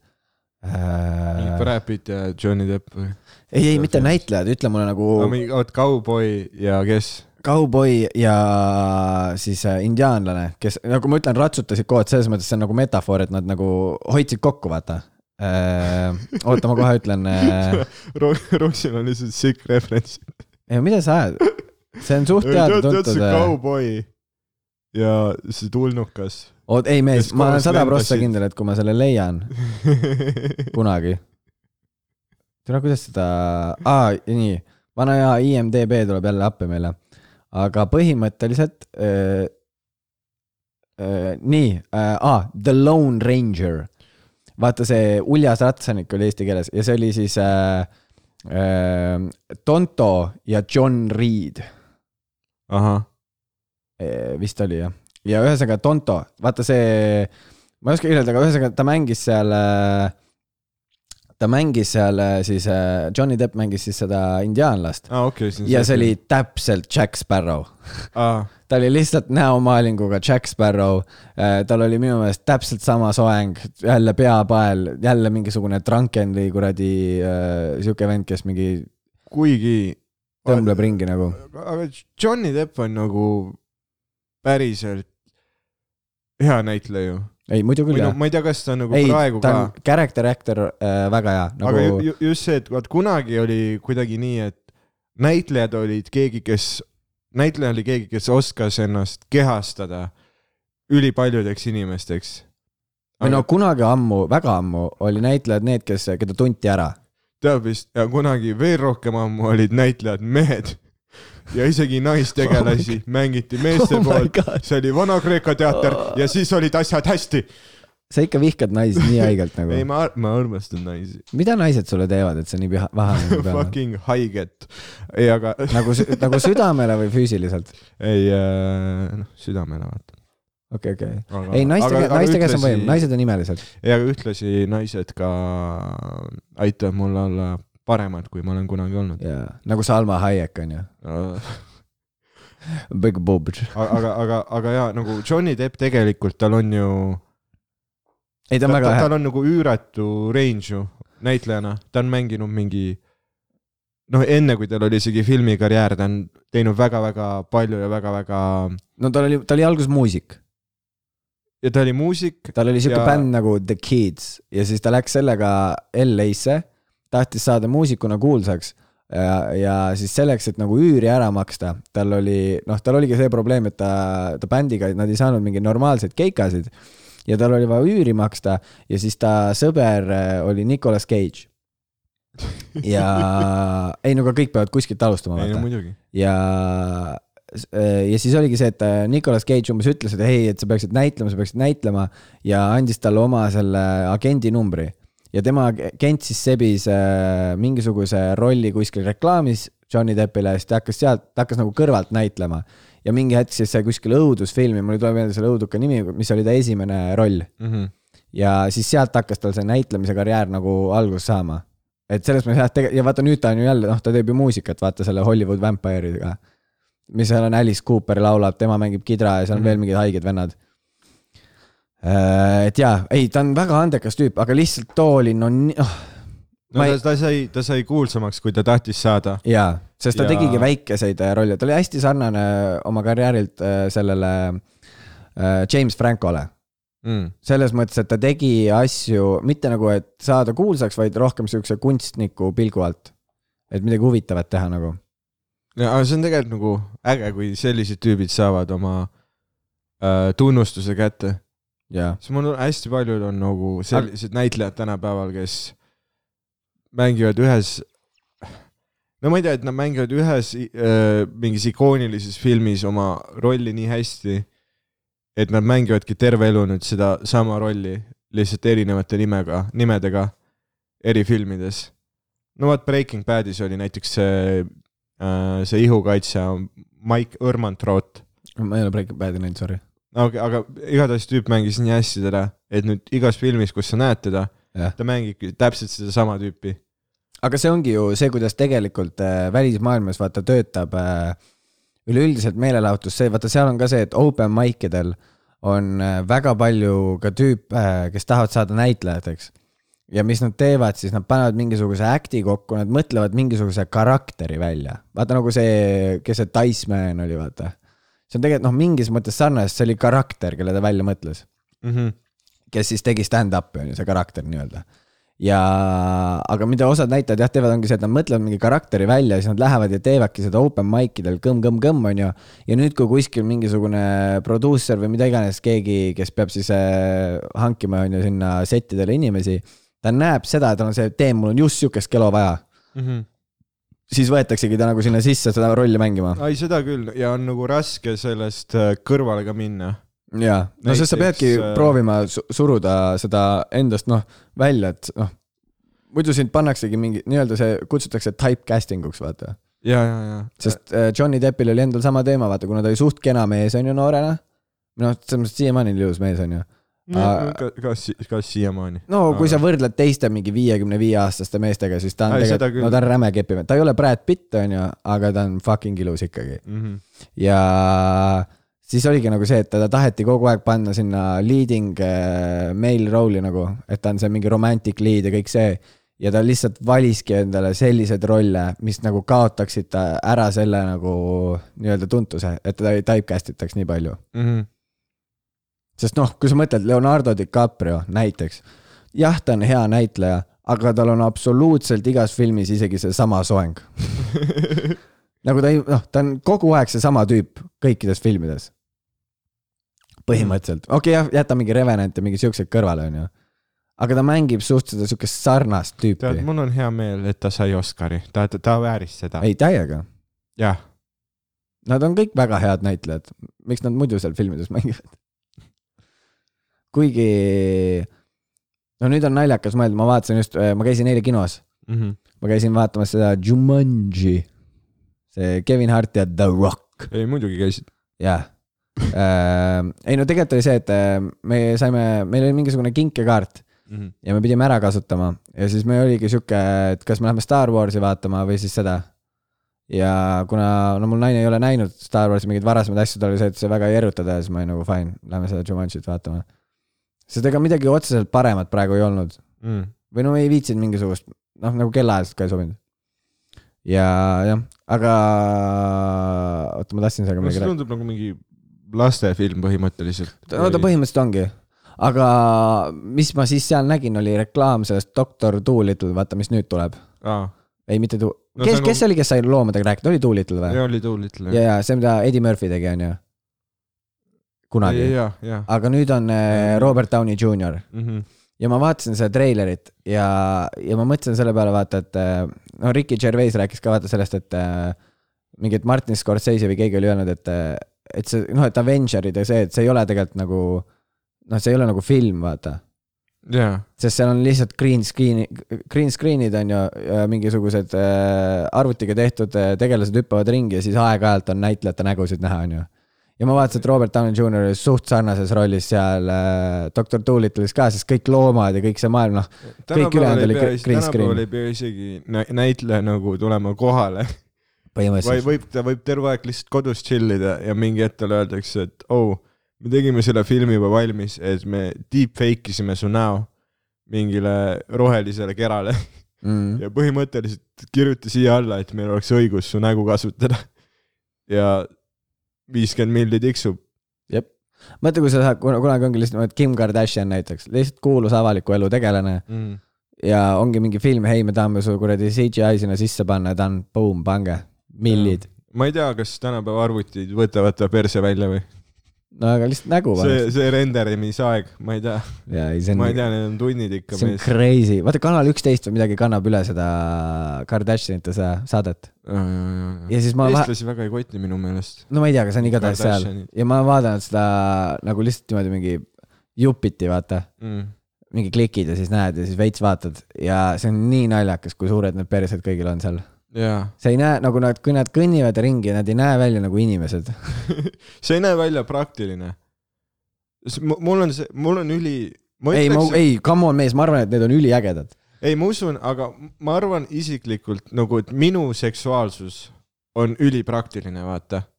äh, .
Brad Pitt ja Johnny Depp või ?
ei , ei mitte näitlejad , ütle mulle nagu
aga mingi , oot , kauboi ja kes ?
kauboi ja siis äh, indiaanlane , kes nagu ma ütlen , ratsutasid koos , selles mõttes see on nagu metafoor , et nad nagu hoidsid kokku , vaata . oota , ma kohe ütlen . äh,
Rootsil on lihtsalt sick reference .
ei , mida sa ajad ? see on suht
tead
teada-tuntud äh,
see . kauboi ja see tulnukas .
oot , ei mees
kes ,
ma olen
koos
sada prossa
lendasid.
kindel , et kui ma selle leian kunagi . tead , kuidas seda , aa , nii , vana hea IMDB tuleb jälle appi meile . aga põhimõtteliselt äh, , äh, nii äh, , aa , The Lone Ranger . vaata , see uljas ratsanik oli eesti keeles ja see oli siis äh, äh, Tonto ja John Reed
ahah ,
Eh, vist oli jah , ja ühesõnaga Tonto , vaata see , ma ei oska kirjeldada , aga ühesõnaga ta mängis seal . ta mängis seal äh, siis , Johnny Depp mängis siis seda indiaanlast
aa Ah, okei okay, .
ja see oli . täpselt Jack Sparrow .
aa ,
ta oli lihtsalt näomaalinguga Jack Sparrow . tal oli minu meelest täpselt sama soeng , jälle peapael , jälle mingisugune drunkenly kuradi äh, sihuke vend , kes mingi
kuigi .
tõmbleb ringi nagu .
aga Johnny Depp on nagu päriselt hea näitleja ju .
ei , muidu küll
või noh ,
jah .
ma ei tea , kas ta on nagu
ei
ei, , praegu
ta
ka ,
on character actor äh, väga hea
nagu... aga ju, ju, just see , et vaat kunagi oli kuidagi nii , et näitlejad olid keegi , kes , näitleja oli keegi , kes oskas ennast kehastada ülipaljudeks inimesteks .
või no kunagi ammu , väga ammu oli näitlejad need , kes , keda tunti ära .
teab vist , ja kunagi veel rohkem ammu olid näitlejad mehed ja isegi naistegelasi oh mängiti meeste
Oh
oh
my
poolt
God. , Oh.
see oli Vana-Kreeka teater ja siis olid asjad hästi .
sa ikka vihkad naisi nii haigelt nagu
ei ,. ma , ma armastan naisi ,
mida naised sulle teevad , et sa nii piha- vahele pead ?
fucking haiget . ei , aga
nagu , nagu südamele või füüsiliselt ?
ei äh, , noh , südamele vaata .
okei , okei . ei , naiste , naiste käes on võim , naised on imelised .
ei , aga ühtlasi naised ka aitavad mul olla paremad , kui ma olen kunagi olnud .
jaa , nagu Salma Hayek on ju . Big boob .
aga , aga , aga , aga jaa , nagu Johnny Depp tegelikult , tal on ju ,
ei , ta on
ta,
väga
ta,
hea .
tal on nagu üüratu range ju näitlejana , ta on mänginud mingi noh , enne kui tal oli isegi filmikarjäär , ta on teinud väga-väga palju ja väga-väga
no tal oli , ta oli alguses muusik .
ja ta oli muusik ,
tal oli siuke
Ja-
bänd nagu The Kids ja siis ta läks sellega LA-sse , tahtis saada muusikuna kuulsaks . ja , ja siis selleks , et nagu üüri ära maksta , tal oli , noh , tal oligi see probleem , et ta , ta bändiga , nad ei saanud mingeid normaalseid keikasid . ja tal oli vaja üüri maksta ja siis ta sõber äh, oli Nicolas Cage . ja ei no aga kõik peavad kuskilt alustama ,
ei no
vaata .
muidugi ,
ja , ja siis oligi see , et äh, Nicolas Cage umbes ütles , et ei , et sa peaksid näitlema , sa peaksid näitlema ja andis talle oma selle agendi numbri . ja tema agent siis sebis äh, mingisuguse rolli kuskil reklaamis Johnny Deppile ja siis ta hakkas sealt , ta hakkas nagu kõrvalt näitlema . ja mingi hetk siis sai kuskil õudusfilmi , mul ei tule meelde selle õuduka nimi , mis oli ta esimene roll
mm . -hmm.
ja siis sealt hakkas tal see näitlemise karjäär nagu algust saama . et selles mõttes jah , tege- , ja vaata nüüd ta on ju jälle , noh , ta teeb ju muusikat , vaata selle Hollywood Vampire'idega . mis seal on , Alice Cooper laulab , tema mängib kidra ja seal on veel mingid haiged vennad . et jaa , ei , ta on väga andekas tüüp , aga lihtsalt too oli no nii , oh
no
Ma ei-
ta, ta sai , ta sai kuulsamaks , kui ta tahtis saada .
jaa , sest ta
Ja-
ja... tegigi väikeseid äh, rolle , ta oli hästi sarnane oma karjäärilt äh, sellele äh, James Francole .
Mm.
selles mõttes , et ta tegi asju mitte nagu , et saada kuulsaks , vaid rohkem siukse kunstniku pilgu alt . et midagi huvitavat teha nagu .
ja aga see on tegelikult nagu äge , kui sellised tüübid saavad oma äh, tunnustuse kätte .
jaa ,
siis mul on- hästi paljud on nagu sellised näitlejad tänapäeval , kes mängivad ühes , no ma ei tea , et nad mängivad ühes äh, mingis ikoonilises filmis oma rolli nii hästi , et nad mängivadki terve elu nüüd seda sama rolli lihtsalt erinevate nimega , nimedega eri filmides . no vot Breaking Badis oli näiteks see äh, , see ihukaitsja Mike Õrmantroot ,
ma ei ole Breaking Badi näinud , sorry .
aga , aga igatahes tüüp mängis nii hästi teda , et nüüd igas filmis , kus sa näed teda ,
Jah.
ta mängibki täpselt sedasama tüüpi .
aga see ongi ju see , kuidas tegelikult äh, välismaailmas vaata töötab äh, üleüldiselt meelelahutus , see vaata , seal on ka see , et open mic idel on äh, väga palju ka tüüpe , kes tahavad saada näitlejateks . ja mis nad teevad , siis nad panevad mingisuguse äkti kokku , nad mõtlevad mingisuguse karakteri välja . vaata nagu see , kes see Diceman oli , vaata . see on tegelikult noh , mingis mõttes sarnane , sest see oli karakter , kelle ta välja mõtles
Mm -hmm.
kes siis tegi stand-up'i , on ju , see karakter nii-öelda . ja , aga mida osad näitajad jah teevad , ongi see , et nad mõtlevad mingi karakteri välja ja siis nad lähevad ja teevadki seda open mic idel kõmm-kõmm-kõmm , on ju . ja nüüd , kui kuskil mingisugune produusser või mida iganes , keegi , kes peab siis äh, hankima , on ju , sinna settidele inimesi , ta näeb seda , tal on see , tee , mul on just sihukest kelo vaja ,
Mm -hmm.
siis võetaksegi ta nagu sinna sisse seda rolli mängima .
ai , seda küll ja on nagu raske sellest äh, kõrvale ka minna .
jaa , no sest sa
Näiteks,
peadki
äh,
proovima su- suruda seda endast noh , välja , et noh , muidu sind pannaksegi mingi nii-öelda see kutsutakse typecasting uks , vaata .
ja , ja , ja .
sest äh, Johnny Deppil oli endal sama teema , vaata , kuna ta oli suht kena mees , on ju , noorena . noh , selles mõttes siiamaani on ilus mees , on ju . Aa.
kas , kas, kas siiamaani ?
Äh. no kui
Aga-
sa võrdled teiste mingi viiekümne viie aastaste meestega , siis ta on
Ei, seda
tegelikult ,
küll.
no ta on räme kepimees , ta ei ole Brad Pitt , on ju , aga ta on fucking ilus ikkagi .
Mm -hmm.
ja siis oligi nagu see , et teda taheti kogu aeg panna sinna leading äh, male role'i nagu , et ta on see mingi romantic lead ja kõik see . ja ta lihtsalt valiski endale selliseid rolle , mis nagu kaotaksid ta ära selle nagu nii-öelda tuntuse , et teda ei typecast itaks nii palju .
Mm -hmm.
sest noh , kui sa mõtled Leonardo DiCaprio näiteks , jah , ta on hea näitleja , aga tal on absoluutselt igas filmis isegi seesama soeng . nagu ta ei , noh , ta on kogu aeg seesama tüüp kõikides filmides . põhimõtteliselt , okei okay, , jah , jäta mingi Revenant ja mingi siuksed kõrvale , onju . aga ta mängib suht seda siukest sarnast
tead ,
tüüpi .
mul on hea meel , et ta sai Oscari , ta, ta , ta vääris seda .
ei , täiega .
jah ,
Nad on kõik väga head näitlejad , miks nad muidu seal filmides mängivad ? kuigi , no nüüd on naljakas mõelda , ma vaatasin just , ma käisin eile kinos ,
Mhm.
ma käisin vaatamas seda Jumanji . see Kevin Hart ja The Rock ,
ei muidugi käisid .
jah . ei no tegelikult oli see , et äh, me saime , meil oli mingisugune kinkekaart
Mm -hmm.
ja me pidime ära kasutama ja siis meil oligi sihuke , et kas me lähme Star Warsi vaatama või siis seda . ja kuna , no mul naine ei ole näinud Star Warsi mingeid varasemaid asju , tal oli see , et see väga ei erutada ja siis ma olin nagu fine , lähme seda Jumanjit vaatama . sest ega midagi otseselt paremat praegu ei olnud
Mm.
või no ei viitsinud mingisugust , noh nagu kellaajaliselt ka ei sobinud . ja jah , aga oota , ma tahtsin sellega
no
midagi
see
rääkida .
tundub nagu mingi lastefilm põhimõtteliselt .
no ta põhimõtteliselt ongi , aga mis ma siis seal nägin , oli reklaam sellest Doctor Dolittle , vaata , mis nüüd tuleb .
aa ,
ei , mitte tu-
No
no, ,
see
kes
on ,
kes
nagu-
see oli , kes sai loomadega rääkida , oli Doolittle või ?
ja oli Doolittle .
ja , ja see , mida Eddie Murphy tegi , on ju . kunagi .
ja , ja .
aga nüüd on äh, Robert Downey Jr
Mhm.
ja ma vaatasin seda treilerit ja , ja ma mõtlesin selle peale , vaata , et äh, no Ricky Gervais rääkis ka vaata sellest , et äh, mingi , et Martin Scorsese või keegi oli öelnud , et , et see noh , et Avengerid ja see , et see ei ole tegelikult nagu noh , see ei ole nagu film , vaata
jaa ,
sest seal on lihtsalt green screen , green screen'id on ju , mingisugused äh, arvutiga tehtud äh, tegelased hüppavad ringi ja siis aeg-ajalt on näitlejate nägusid näha , on ju . ja ma vaatasin , et Robert Downey Jr oli suht sarnases rollis seal äh, Doctor Doolittle'is ka , sest kõik loomad ja kõik see maailm , noh . ülejäänud oli gr- green screen.
tänapäeval ei pea isegi nä- näitleja nagu tulema kohale , vaid
põhimõtteliselt .
võib , ta võib terve aeg lihtsalt kodus chill ida ja mingi hetk talle öeldakse , et oh , me tegime selle filmi juba valmis , et me deepfake isime su näo mingile rohelisele kerale
Mm.
ja põhimõtteliselt kirjuta siia alla , et meil oleks õigus su nägu kasutada . ja viiskümmend milli tiksub .
mõtle , kui sa saad , kunagi ongi lihtsalt , Kim Kardashian näiteks , lihtsalt kuulus avaliku elu tegelane ja ongi mingi film , hei , me tahame su kuradi CGI sinna sisse panna ja ta on , boom , pange , millid .
ma ei tea , kas tänapäeva arvutid võtavad ta perse välja või ?
no aga lihtsalt nägu
see
vaata .,
see renderdamisaeg , ma ei tea ,
jaa , ei see
ma ei
on ,
tea , need on tunnid ikka
see on
mees .
crazy , vaata Kanal üksteist või midagi kannab üle seda Kardashianite sa- saadet ja siis ma ,
eestlasi väga ei koti minu meelest .
no ma ei tea , aga see on igatahes seal
Kardashianid.
ja ma vaatan seda nagu lihtsalt niimoodi mingi jupiti , vaata
Mm.
mingi klikid ja siis näed ja siis veits vaatad ja see on nii naljakas , kui suured need persed kõigil on seal .
jaa ,
sa ei näe nagu nad , kui nad kõnnivad ringi , nad ei näe välja nagu inimesed .
see ei näe välja praktiline . mul on see , mul on üli , ma
ei , ma ,
ütleks ,
ei , come on mees , ma arvan , et need on üliägedad .
ei , ma usun , aga ma arvan isiklikult nagu , et minu seksuaalsus on ülipraktiline , vaata .
aa ,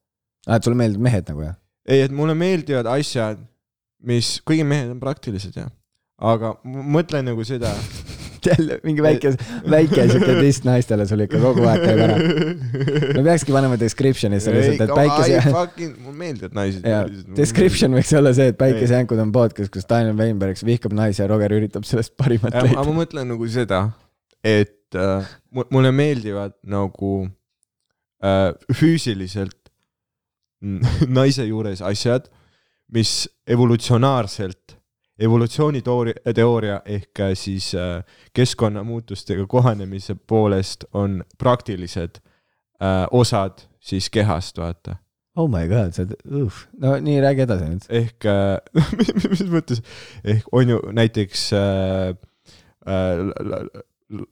Ah, et sulle meeldivad mehed nagu jah ?
ei , et mulle meeldivad asjad , mis , kuigi mehed on praktilised ja , aga ma mõtlen nagu seda .
jälle mingi väike , väike siuke tist naistele sul ikka kogu aeg käib ära . me peakski panema description'isse lihtsalt , et päikese ,
mulle meeldivad naised .
jaa , description . võiks olla see , et Päikesejänkud on podcast , kus Daniel Weinberg vihkab naisi ja Roger üritab sellest parimat
aga
leida .
ma mõtlen nagu seda , et äh, mu- mulle meeldivad nagu äh, füüsiliselt n- naise juures asjad , mis evolutsionaarselt , evolutsiooniteooria ehk äh, siis äh, keskkonnamuutustega kohanemise poolest on praktilised äh, osad siis kehast , vaata .
oh my god , sa oled , no nii , räägi edasi nüüd .
ehk äh, , mis mõttes , ehk on ju näiteks äh, äh, la- la-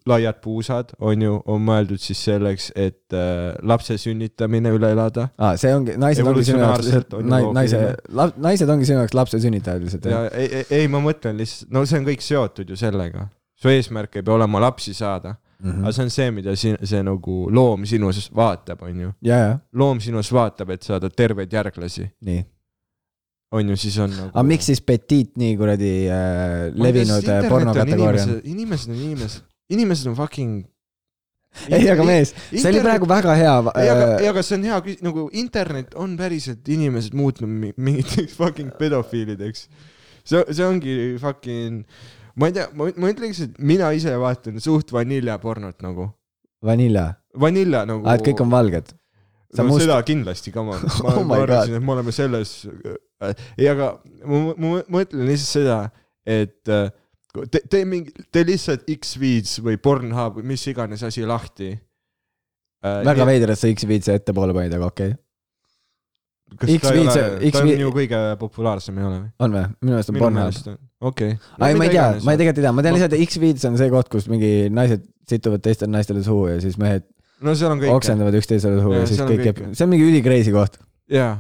laiad puusad on ju , on mõeldud siis selleks , et äh, lapse sünnitamine üle elada
aa , Ah, see ongi , naised ongi sinu
Evolutsionaarselt
jaoks lihtsalt
on ju
nai- , naise
loogiline. ,
naised ongi sinu jaoks lapse sünnitajad lihtsalt
ja
jah ?
ei , ei, ei , ma mõtlen lihtsalt , no see on kõik seotud ju sellega . su eesmärk ei pea olema lapsi saada mm ,
Mhm.
-hmm. aga see on see , mida siin see nagu loom sinu sees vaatab , on ju .
ja , ja ,
loom sinu sees vaatab , et saada terveid järglasi ,
nii .
on ju , siis on nagu...
aga miks siis petiit nii kuradi äh, levinud äh, pornokategooria on ?
on ? inimesed on inimesed , inimesed on fucking .
ei , aga . mees , see oli praegu väga hea
ei , aga ,
äh,
ei , aga see on hea küs- , nagu internet on päriselt inimesed muutnud mi- mingiteks fucking pedofiilideks . see , see ongi fucking , ma ei tea , ma , ma ütleks , et mina ise vaatan suht vaniljapornot nagu .
vanilla ,
Vanilla nagu .
aa , Ah, et kõik on valged . sa
no
must-
must... seda kindlasti , come on . ma, oh
Oh
ma
my
arvasin , et me oleme selles , ei , aga ma, ma- ma mõtlen lihtsalt seda , et äh, te, tee mingi , tee lihtsalt X-Feeds või Pornhub või mis iganes asi lahti . Äh,
väga . veider , et sa X-Viitsi ettepoole panid , aga okei okay. . X-Feeds-
ta
X-Feed-
on ju kõige populaarsem , ei ole või ?
on või ? minu meelest on Pornhub .
okei .
aa , ei , ma ei tea , ma ei tegelikult ei tea , ma tean
Ma-
lihtsalt , et X-Viits on see koht , kus mingi naised situvad teistele naistele suhu ja siis mehed
no seal on kõik .
oksendavad üksteisele suhu ja,
Jaa,
ja siis
seal on
kõik jääb
kõike. ,
see on mingi üli-crazy koht .
jaa ,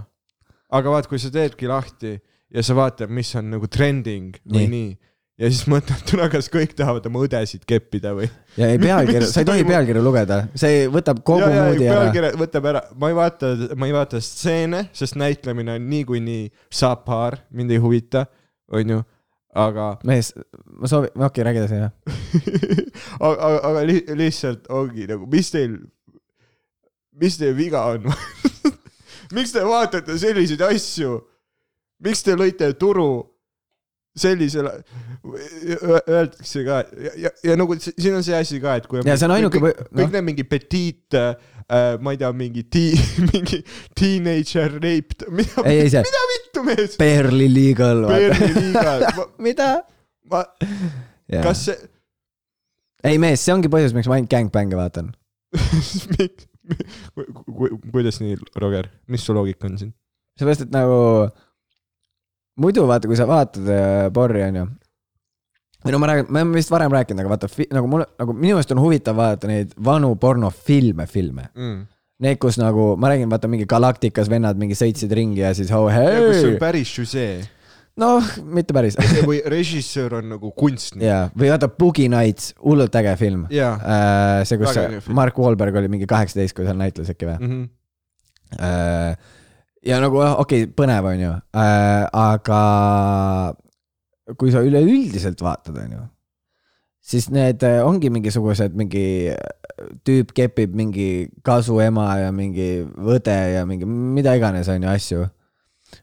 aga vaat , kui sa teedki lahti ja sa vaatad , mis on nagu trending nii.
Nii.
või nii ja siis mõtled , tule , kas kõik tahavad oma õdesid keppida või .
ja ei pealkirja ,
Mis
sa ei tohi
toimub?
pealkirja lugeda , see võtab kogu
ja , ja
moodi ära .
pealkirja võtab ära , ma ei vaata , ma ei vaata stseene , sest näitlemine on niikuinii saab paar , mind ei huvita , onju , aga
mees , ma soovin , okei okay, , räägi edasi , jah .
aga , aga, aga li lihtsalt ongi nagu , mis teil , mis teie viga on ? miks te vaatate selliseid asju ? miks te lõite turu sellisele , öeldakse ka ja , ja, ja nagu si- siin on see asi ka , et kui .
Ja see on ainuke
kõik,
põ-
kõik
noh.
need mingi petiit äh, , ma ei tea , mingi tii- , mingi teenager raped , mida ,
ei , ei see ,
mida vittu mees ,
Perli Legal .
Perli liiga ,
mida ?
ma , kas see
ei mees , see ongi põhjus , miks ma ainult gangbang'e vaatan .
miks , kuidas nii , Roger , mis su loogika on siin ?
seepärast , et nagu muidu vaata , kui sa vaatad äh, porri , onju . või no ma räägin , me oleme vist varem rääkinud , aga vaata , nagu mul , nagu minu meelest on huvitav vaadata neid vanu pornofilme , filme .
mm. .
Need , kus nagu , ma räägin , vaata mingi galaktikas vennad mingi sõitsid ringi ja siis oh
ja kui see on
hei ,
päris žüsee
noh , mitte päris .
või režissöör on nagu kunstnik .
jaa , Äh. või vaata Boogie Nights , hullult äge film .
jaa .
see , kus
Väga äge film.
Mark Wahlberg oli mingi kaheksateist , kui seal näitles äkki või ?
Mhm.
Äh, ja nagu jah, okei okay, , põnev on ju , aga kui sa üleüldiselt vaatad , on ju , siis need äh, ongi mingisugused , mingi äh, tüüp kepib mingi kasuema ja mingi õde ja mingi mida iganes , on ju , asju .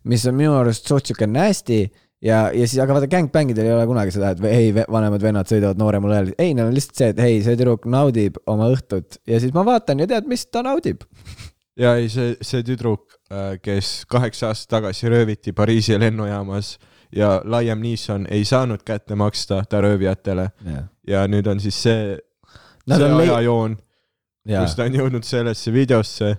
mis on minu arust suht sihuke nasty ja , ja siis , aga vaata gängbängidel ei ole kunagi seda , et või ei , vanemad vennad sõidavad nooremal ajal , ei , neil on lihtsalt see , et ei , see tüdruk naudib oma õhtut ja siis ma vaatan ja tead , mis ta naudib .
ja ei , see , see tüdruk , kes kaheksa aastat tagasi rööviti Pariisi lennujaamas ja laiem Nissan ei saanud kätte maksta ta röövijatele ja nüüd on siis see ,
Nad
see
on lei-
ajajoon , kus ta on jõudnud sellesse videosse .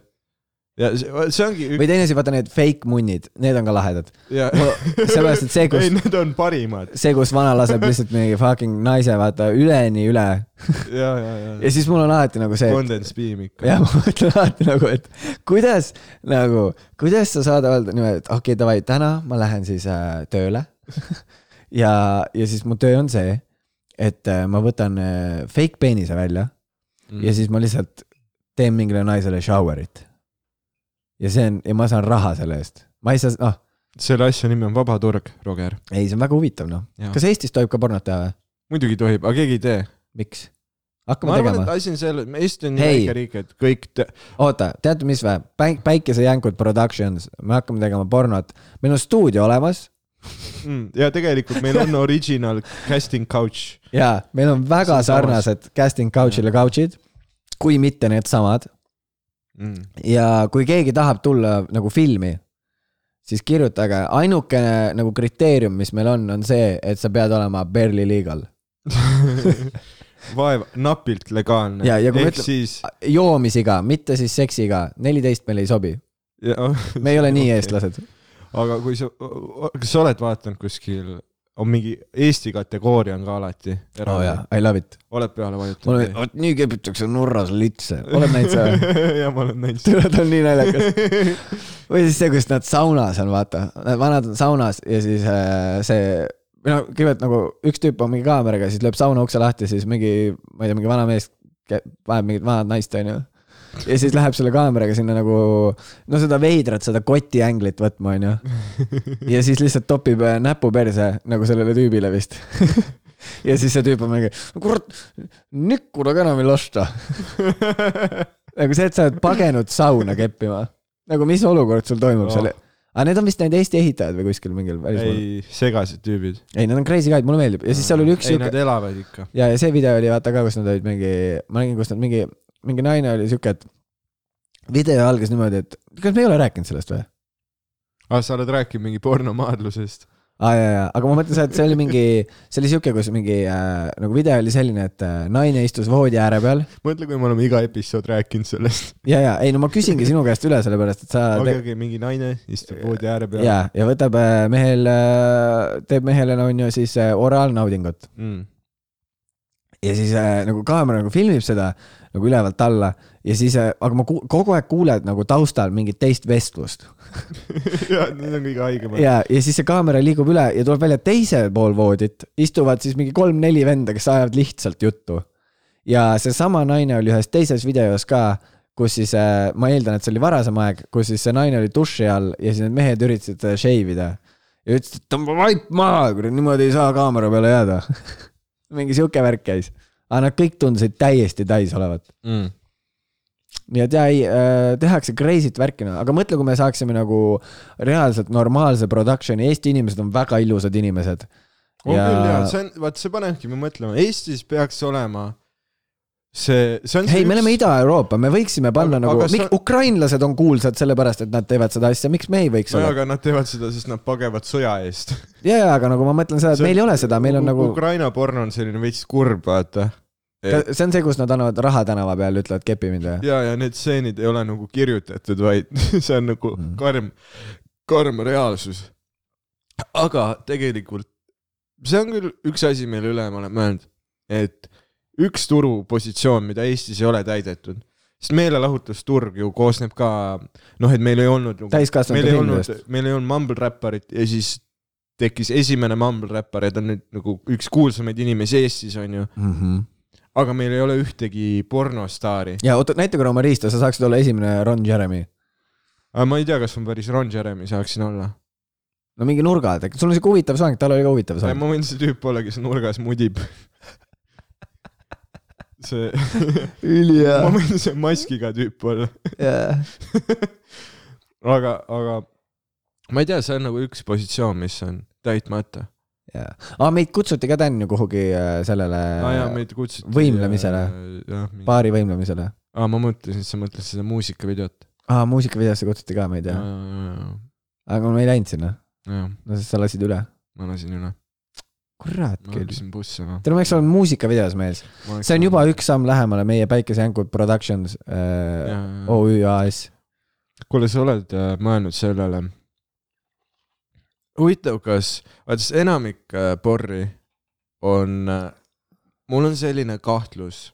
ja see, see ongi
või teine asi , vaata need fake munnid , need on ka lahedad .
ja...
sellepärast , et see ,
ei ,
kus ,
need on parimad
see , kus vana laseb lihtsalt mingi fucking naise , vaata üleni üle
ja , ja , ja
ja siis mul on alati nagu see , et
Condens Beam ikka .
ja ma mõtlen alati nagu , et kuidas nagu , kuidas sa saad öelda niimoodi , et okei okay, , davai , täna ma lähen siis äh, tööle . ja , ja siis mu töö on see , et äh, ma võtan äh, fake peenise välja
Mm.
ja siis ma lihtsalt teen mingile naisele shower'it . ja see on , ja ma saan raha selle eest . ma ei saa , noh ,
selle asja nimi on Vaba Turg , Roger .
ei , see on väga huvitav , noh . kas Eestis tohib ka pornot teha või ?
muidugi tohib , aga keegi ei tee .
miks ?
ma
hakkame
arvan , et
tegema .
asi on selles , Eesti on nii
Hei.
väike riik , et kõik te...
oota , teate , mis või ? Päik- , Päikesejänkud Productions , me hakkame tegema pornot . meil on stuudio olemas
mm, . ja tegelikult meil on original casting couch .
ja meil on väga
Siinsamas.
sarnased casting couch'ile couch'id , kui mitte needsamad .
Mm.
ja kui keegi tahab tulla nagu filmi , siis kirjutage , ainukene nagu kriteerium , mis meil on , on see , et sa pead olema barely legal .
vaev , napilt legaalne .
Ja- ja kui me
ehk
ütleme-
siis
joomisiga , mitte siis seksiga , neliteist meil ei sobi ,
ja, ,
me ei ole nii eestlased .
aga kui sa , kas sa oled vaadanud kuskil , on mingi Eesti kategooria on ka alati
oo
eraldi
jaa , I love it .
oh, , oled peale
mul oli ,
vajutanud ?
vot nii kepitakse nurras litse , oled näinud seda ?
ja ma olen näinud seda .
tule , ta on nii naljakas . või siis see , kus nad saunas on , vaata , vanad on saunas ja siis äh, see , või noh , kõigepealt nagu üks tüüp on mingi kaameraga , siis lööb sauna ukse lahti , siis mingi , ma ei tea , mingi vana mees kä- vajab mingit vanat naist , onju . ja siis läheb selle kaameraga sinna nagu , no seda veidrat , seda kotiänglit võtma , onju . ja siis lihtsalt topib äh, näpu perse nagu sellele tüübile vist . ja siis see tüüp on mingi , kurat , nikkuda ka enam ei lasta . nagu see , et sa oled pagenud sauna keppima . nagu mis olukord sul toimub seal
Oh. ?
aga need on vist need Eesti ehitajad või kuskil mingil välismaal ?
ei , segased tüübid .
ei , nad on crazy guy'd , mulle meeldib ja siis seal oli üks
ei ,
siuke
nad elavad ikka .
ja , ja see video oli vaata ka , kus nad olid mingi , ma nägin , kus nad mingi , mingi naine oli siuke , et video algas niimoodi , et kas me ei ole rääkinud sellest või ?
aa , Ah, sa oled rääkinud mingi pornomaadlusest .
aa ah, jaa , jaa , aga ma mõtlen seda , et see oli mingi , see oli siuke , kus mingi äh, nagu video oli selline , et äh, naine istus voodi ääre peal
mõtle , kui me oleme iga episood rääkinud sellest .
ja , ja ei no ma küsingi sinu käest üle , sellepärast et sa
okei ,
okay.
okei , mingi naine istub voodi ääre
ja ,
peal .
ja, ja võtab äh, mehel , teeb mehele , no on ju siis äh, oraalnaudingut .
Mm.
ja siis äh, nagu kaamera nagu filmib seda nagu ülevalt alla ja siis äh, , aga ma ku- kogu aeg kuuled nagu taustal mingit teist vestlust .
ja need on kõige haigemad .
ja , ja siis see kaamera liigub üle ja tuleb välja teisel pool voodit , istuvad siis mingi kolm-neli venda , kes ajavad lihtsalt juttu . ja seesama naine oli ühes teises videos ka , kus siis äh, ma eeldan , et see oli varasem aeg , kus siis see naine oli duši all ja siis need mehed üritasid teda shave ida . ja ütles , et tõmba vaip maha , kurat niimoodi ei saa kaamera peale jääda . mingi sihuke värk käis , aga nad kõik tundusid täiesti täis olevat .
mm. .
nii et jaa , ei äh, , tehakse crazy't värki , aga mõtle , kui me saaksime nagu reaalselt normaalse production'i , Eesti inimesed on väga ilusad inimesed .
on ja... küll jaa ,
ja
see on , vaat see panebki mind mõtlema , Eestis peaks olema see , see on see
ei , me oleme Ida-Euroopa , me võiksime panna
Aga-
aga, nagu
aga , sa-
miks ukrainlased on kuulsad sellepärast , et nad teevad seda asja , miks me ei võiks
nojah ,
olla ?
aga nad teevad seda , sest nad pagevad sõja eest .
ja , ja aga nagu ma mõtlen seda , et meil ei ole seda , meil on nagu ,
Ukraina porno on selline veits kurb , vaata .
see on see , kus nad annavad raha tänava peal , ütlevad kepi mind või ?
ja , ja need stseenid ei ole nagu kirjutatud , vaid see on nagu
Mhm.
karm , karm reaalsus . aga tegelikult see on küll üks asi , mille üle ma olen mõelnud , et üks turupositsioon , mida Eestis ei ole täidetud , sest meelelahutusturg ju koosneb ka noh , et meil ei olnud ju meil
täiskasvanute
ei
filmidest
olnud ,. meil ei olnud Mumble Räpparit ja siis tekkis esimene Mumble Räppar ja ta on nüüd nagu üks kuulsamaid inimesi Eestis , onju . aga meil ei ole ühtegi pornostaari .
Mhm. ja oota , näita korra oma riista , sa saaksid olla esimene Ron Jeremy .
aga ma ei tea , kas ma päris Ron Jeremy saaksin olla .
no mingi nurga , sul on siuke huvitav soeng , tal oli ka huvitav
Äh, ma
soeng .
võin see tüüp olla , kes nurgas mudib . see ,
Äh. ülihea
ma võin see maskiga tüüp olla .
yeah. .
aga , aga ma ei tea , see on nagu üks positsioon , mis on täitmata .
jaa , aga meid kutsuti ka Tänju kuhugi äh, sellele
aa jaa , meid kutsuti .
võimlemisele.
jah , mingi ,
baari võimlemisele .
aa ma mõtlesin , et sa mõtled seda muusikavideot .
aa , muusikavideosse kutsuti ka meid jah ,
jah ,
aga me ei läinud sinna ,
jah ,
no sest sa lasid üle .
ma lasin üle .
kurat
ma
küll .
läksin noh. bussi ma .
teil võiks olla muusikavideos mees , see on juba . üks samm lähemale meie Päikesejänkud Productions äh, OÜ AS .
kuule , sa oled äh, mõelnud sellele ? huvitav , kas , vaata siis enamik äh, porri on , mul on selline kahtlus ,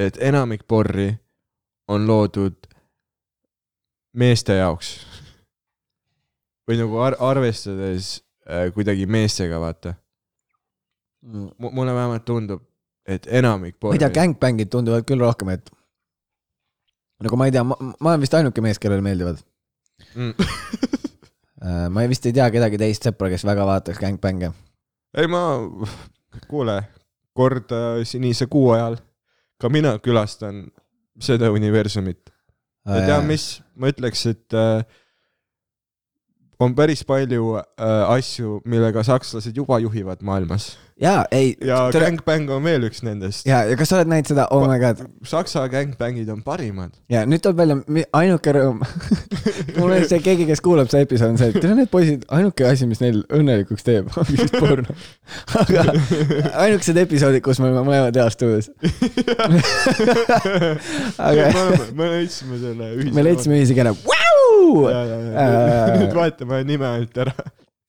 et enamik porri on loodud meeste jaoks . või nagu ar- , arvestades äh, kuidagi meestega , vaata .
ma
mulle vähemalt tundub , et enamik
ei tea ,
porri .
gängbängid tunduvad küll rohkem , et nagu ma ei tea , ma , ma olen vist ainuke mees , kellele meeldivad .
Mm.
ma vist ei tea kedagi teist sõpra , kes väga vaataks gängbänge .
ei ma , kuule , kord äh, sinise kuu ajal ka mina külastan seda universumit ja tead mis , ma ütleks , et äh, on päris palju äh, asju , millega sakslased juba juhivad maailmas
jaa , ei ,
ja
Tere-
Gangbang on veel üks nendest .
ja , ja kas sa oled näinud seda , oh my god ,
Saksa Gangbangid on parimad .
ja nüüd tuleb välja , ainuke rõõm . mul on see keegi , kes kuulab seda episoodi , on see , et tead need poisid , ainuke asi , mis neil õnnelikuks teeb , ongi vist porno . aga ainukesed episoodid , kus me oleme mõlemad heas tuules . aga
me leidsime selle ühise .
me leidsime ühise keele ,
ja ,
vau !
ja , ja
Äh.
nüüd vahetame nime ainult ära .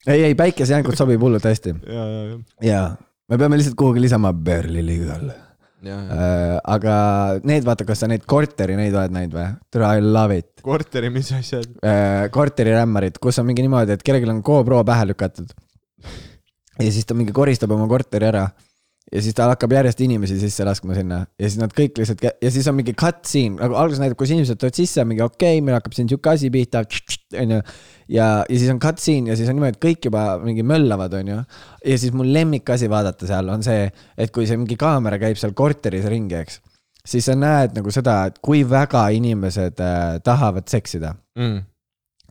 ei , ei , päikesejänkud sobib hullult hästi
ja , ja ,
ja me peame lihtsalt kuhugi lisama Berliini igale .
ja , ja .
Äh, aga need , vaata , kas sa neid korteri , neid oled näinud või ? tere , I love it .
korteri , mis asjad .
äh, korterirämmarid , kus on mingi niimoodi , et kellelgi on GoPro pähe lükatud . ja siis ta mingi koristab oma korteri ära ja siis ta hakkab järjest inimesi sisse laskma sinna ja siis nad kõik lihtsalt kä- ja siis on mingi cutscene , nagu alguses näitab , kus inimesed tulevad sisse , mingi okei okay, , meil hakkab siin sihuke asi pihta , onju . ja , ja siis on cutscene ja siis on niimoodi , et kõik juba mingi möllavad , onju . ja siis mu lemmikasi vaadata seal on see , et kui see mingi kaamera käib seal korteris ringi , eks , siis sa näed nagu seda , et kui väga inimesed äh, tahavad seksida
mm. .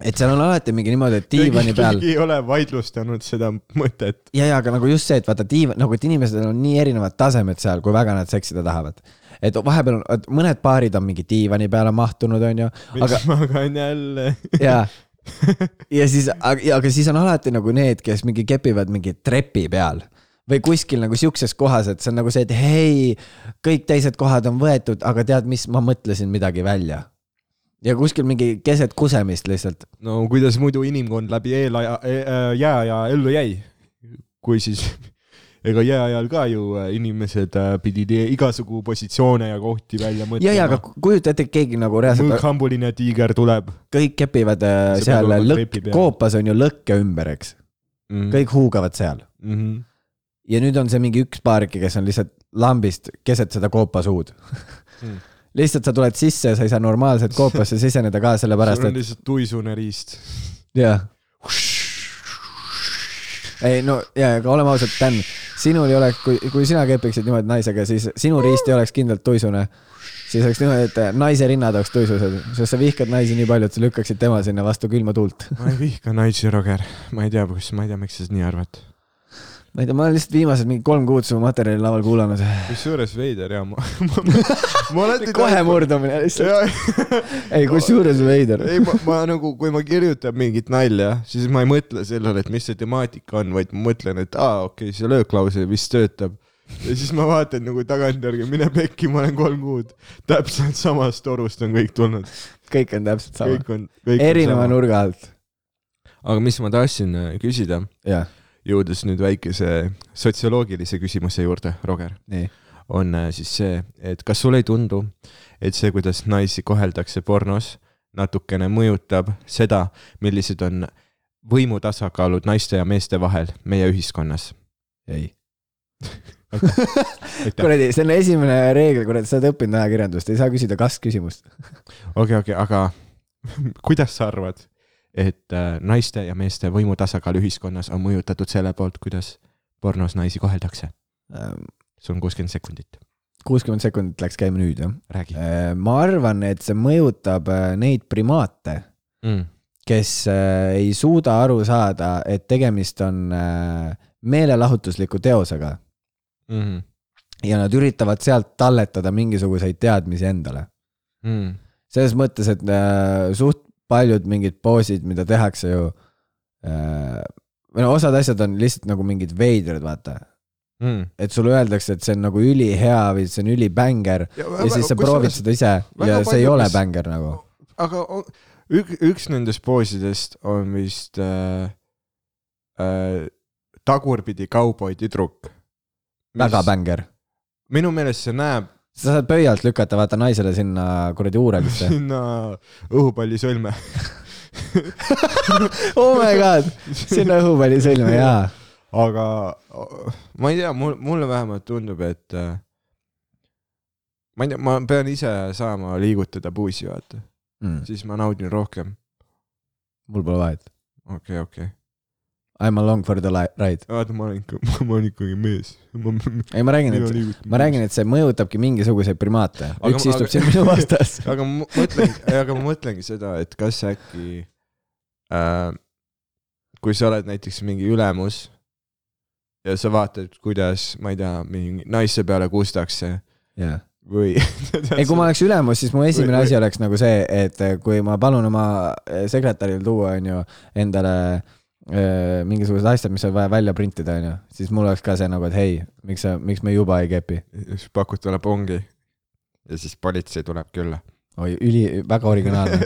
et seal on alati mingi niimoodi , et diivani peal
keegi ei ole vaidlustanud seda mõtet .
ja , ja aga nagu just see , et vaata diivan , nagu et inimesed on nii erinevad tasemed seal , kui väga nad seksida tahavad . et vahepeal on , et mõned paarid on mingi diivani peale mahtunud , onju ,
miks
aga
aga... magan jälle ?
ja , ja siis , aga siis on alati nagu need , kes mingi kepivad mingi trepi peal või kuskil nagu siukses kohas , et see on nagu see , et hei , kõik teised kohad on võetud , aga tead mis , ma mõtlesin midagi välja . ja kuskil mingi keset kusemist lihtsalt
no kuidas muidu inimkond läbi eelaja e, , jääaja ellu jäi ? kui siis , ega jääajal ka ju äh, inimesed äh, pidid e- igasugu positsioone ja kohti välja
ja , ja aga
mõtlema .
kujuta ette , et keegi nagu reaalselt
mõõkhambuline tiiger tuleb
kõik kepivad äh,
See
seal
peab olema
lõkk
trepi , peal.
koopas on ju lõkke ümber , eks ,
mm. .
kõik huugavad seal
Mm -hmm.
ja nüüd on see mingi üks paarike , kes on lihtsalt lambist keset seda koopasuud
Mm.
mm. . lihtsalt sa tuled sisse ja sa ei saa normaalselt koopasse siseneda ka sellepärast ,
sul on
et
lihtsalt tuisune riist .
jah . ei no ja , aga oleme ausad , Dan , sinul ei oleks , kui , kui sina kepiksid niimoodi naisega , siis sinu riist ei oleks kindlalt tuisune . siis oleks niimoodi , et äh, naise rinnad oleks tuisused , sest sa vihkad naisi nii palju , et sa lükkaksid tema sinna vastu külma tuult .
ma ei vihka naisi , Roger . ma ei tea , kus , ma ei tea , miks sa nii arvad .
ma ei tea , ma olen lihtsalt viimased mingi kolm kuud su materjali laval kuulanud .
kusjuures veider ja ma , ma, ma, ma alati
kohe murdumine lihtsalt .
jaa ,
ei , kusjuures veider .
ei , ma , ma nagu , kui ma kirjutan mingit nalja , siis ma ei mõtle sellele , et mis see temaatika on , vaid ma mõtlen , et aa , okei okay, , see lööklause vist töötab . ja siis ma vaatan nagu tagantjärgi , mine pekki , ma olen kolm kuud täpselt samast torust on kõik tulnud ,
kõik on täpselt sama .
kõik on , kõik
erineva
on sama .
nurga alt .
aga mis ma tahtsin äh, küsida ,
jah ,
jõudes nüüd väikese sotsioloogilise küsimuse juurde , Roger .
nii .
on äh, siis see , et kas sulle ei tundu , et see , kuidas naisi koheldakse pornos , natukene mõjutab seda , millised on võimu tasakaalud naiste ja meeste vahel meie ühiskonnas .
ei .
aitäh ,
kuradi , see on esimene reegel , kuradi , sa oled õppinud ajakirjandust , ei saa küsida kas-küsimust .
okei , okei , aga kuidas sa arvad , et äh, naiste ja meeste võimu tasakaal ühiskonnas on mõjutatud selle poolt , kuidas pornos naisi koheldakse ? sul on kuuskümmend sekundit ,
Ehm, kuuskümmend sekundit läks käima nüüd , jah .
räägi
ma arvan , et see mõjutab äh, neid primaate ,
mm. .
kes äh, ei suuda aru saada , et tegemist on äh, meelelahutusliku teosega
Mm
mm-hmm,
-hmm.
ja nad üritavad sealt talletada mingisuguseid teadmisi endale . mm-hmm,
Mm.
selles mõttes , et äh, suht paljud mingid poosid , mida tehakse ju äh, , või no osad asjad on lihtsalt nagu mingid veidrad , vaata .
Mm.
et sulle öeldakse , et see on nagu ülihea või see on ülibänger ja, ja siis sa proovid seda ise
väga
ja see ei
palju,
ole
mis-
bänger nagu .
aga on- ük- , üks nendest poosidest on vist äh, äh, tagurpidi kauboitüdruk .
väga . bänger .
minu meelest see näeb
sa saad pöialt lükata , vaata naisele sinna kuradi uurelisse .
sinna õhupallisõlme .
oh my god , sinna õhupalli sõlme jaa .
aga o- ma ei tea , mul , mulle vähemalt tundub , et äh, ma ei tea , ma pean ise saama liigutada puusi , vaata ,
mul
siis ma naudin rohkem .
Mm, pole vahet .
okei okay, , okei okay. .
I m along for the li- ride .
vaata , ma olen ikka , ma olen ikkagi mees . ma,
ei , ma räägin ,
mina
et ,
liigutan
ma räägin , et see mõjutabki mingisuguseid primaate .
Aga-
üks istub
aga-
siin minu vastas .
aga ma mõtlen , aga ma mõtlengi seda , et kas äkki äh, , kui sa oled näiteks mingi ülemus ja sa vaatad , kuidas , ma ei tea , mingi naise peale kustakse
jaa .
või .
ei , kui ma oleks ülemus , siis mu esimene
Või- või-
asi oleks nagu see , et kui ma palun oma sekretäril tuua , onju , endale öö, mingisugused asjad , mis on vaja välja printida , onju , siis mul oleks ka see nagu , et hei , miks sa , miks me juba ei kepi .
siis pakud talle pongi ja siis politsei tuleb külla .
oi , üli , väga originaalne .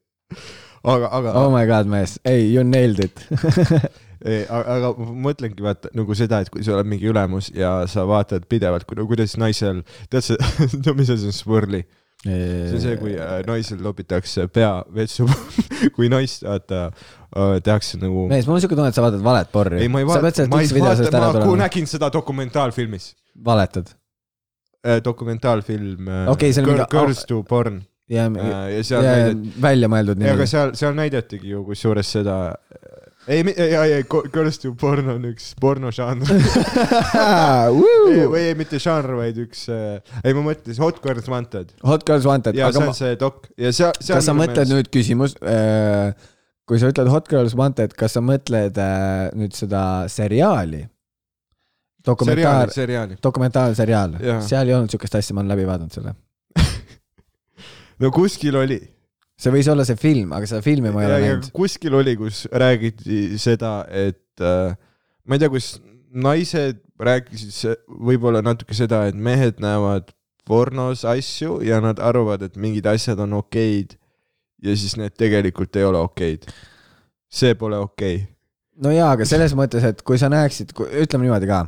aga , aga
Oh my god , mees , ei , you nailed it .
ei , aga ma mõtlengi vaata nagu seda , et kui sa oled mingi ülemus ja sa vaatad pidevalt , kuidas naisel , tead sa , no mis asi on swirly ? see on see , kui äh, naisel lobitakse pea vetsu , kui naist , vaata , tehakse nagu .
mees , mul on siuke tunne , et sa vaatad valet porri
ei , ma ei .
sa pead
vaata ,
sealt
ma
üks
ei
video seest
vaata , ma
ära
ku-
tulema .
nägin seda dokumentaalfilmis .
valetad .
dokumentaalfilm .
Okei, see on mingi-
Girls to porn
ja ,
äh, ja seal
ja
näidati ,
välja mõeldud
ei aga
nimi .
seal , seal näidatigi ju kusjuures seda , ei , ei , ei , Girls to porn on üks pornožanr . Ei, või ei , mitte žanr , vaid üks , ei ma mõtlesin Hot Girls Wanted
Hot girls wanted .
ja see on see nagu dok ja seal , seal .
kas sa mõtled meelest. nüüd küsimus , kui sa ütled Hot Girls Wanted , kas sa mõtled äh, nüüd seda seriaali ? dokumentaar
seriaali ,, seriaali ?
dokumentaalseriaal ,
Jaa.
seal ei olnud siukest asja , ma olen läbi vaadanud selle .
no kuskil oli .
see võis olla see film , aga seda filmi ma ei ole näinud .
kuskil oli , kus räägiti seda , et äh, ma ei tea , kus naised rääkisid se- võib-olla natuke seda , et mehed näevad pornos asju ja nad arvavad , et mingid asjad on okeid ja siis need tegelikult ei ole okeid . see pole okei okay. .
no jaa , aga selles mõttes , et kui sa näeksid , ütleme niimoodi ka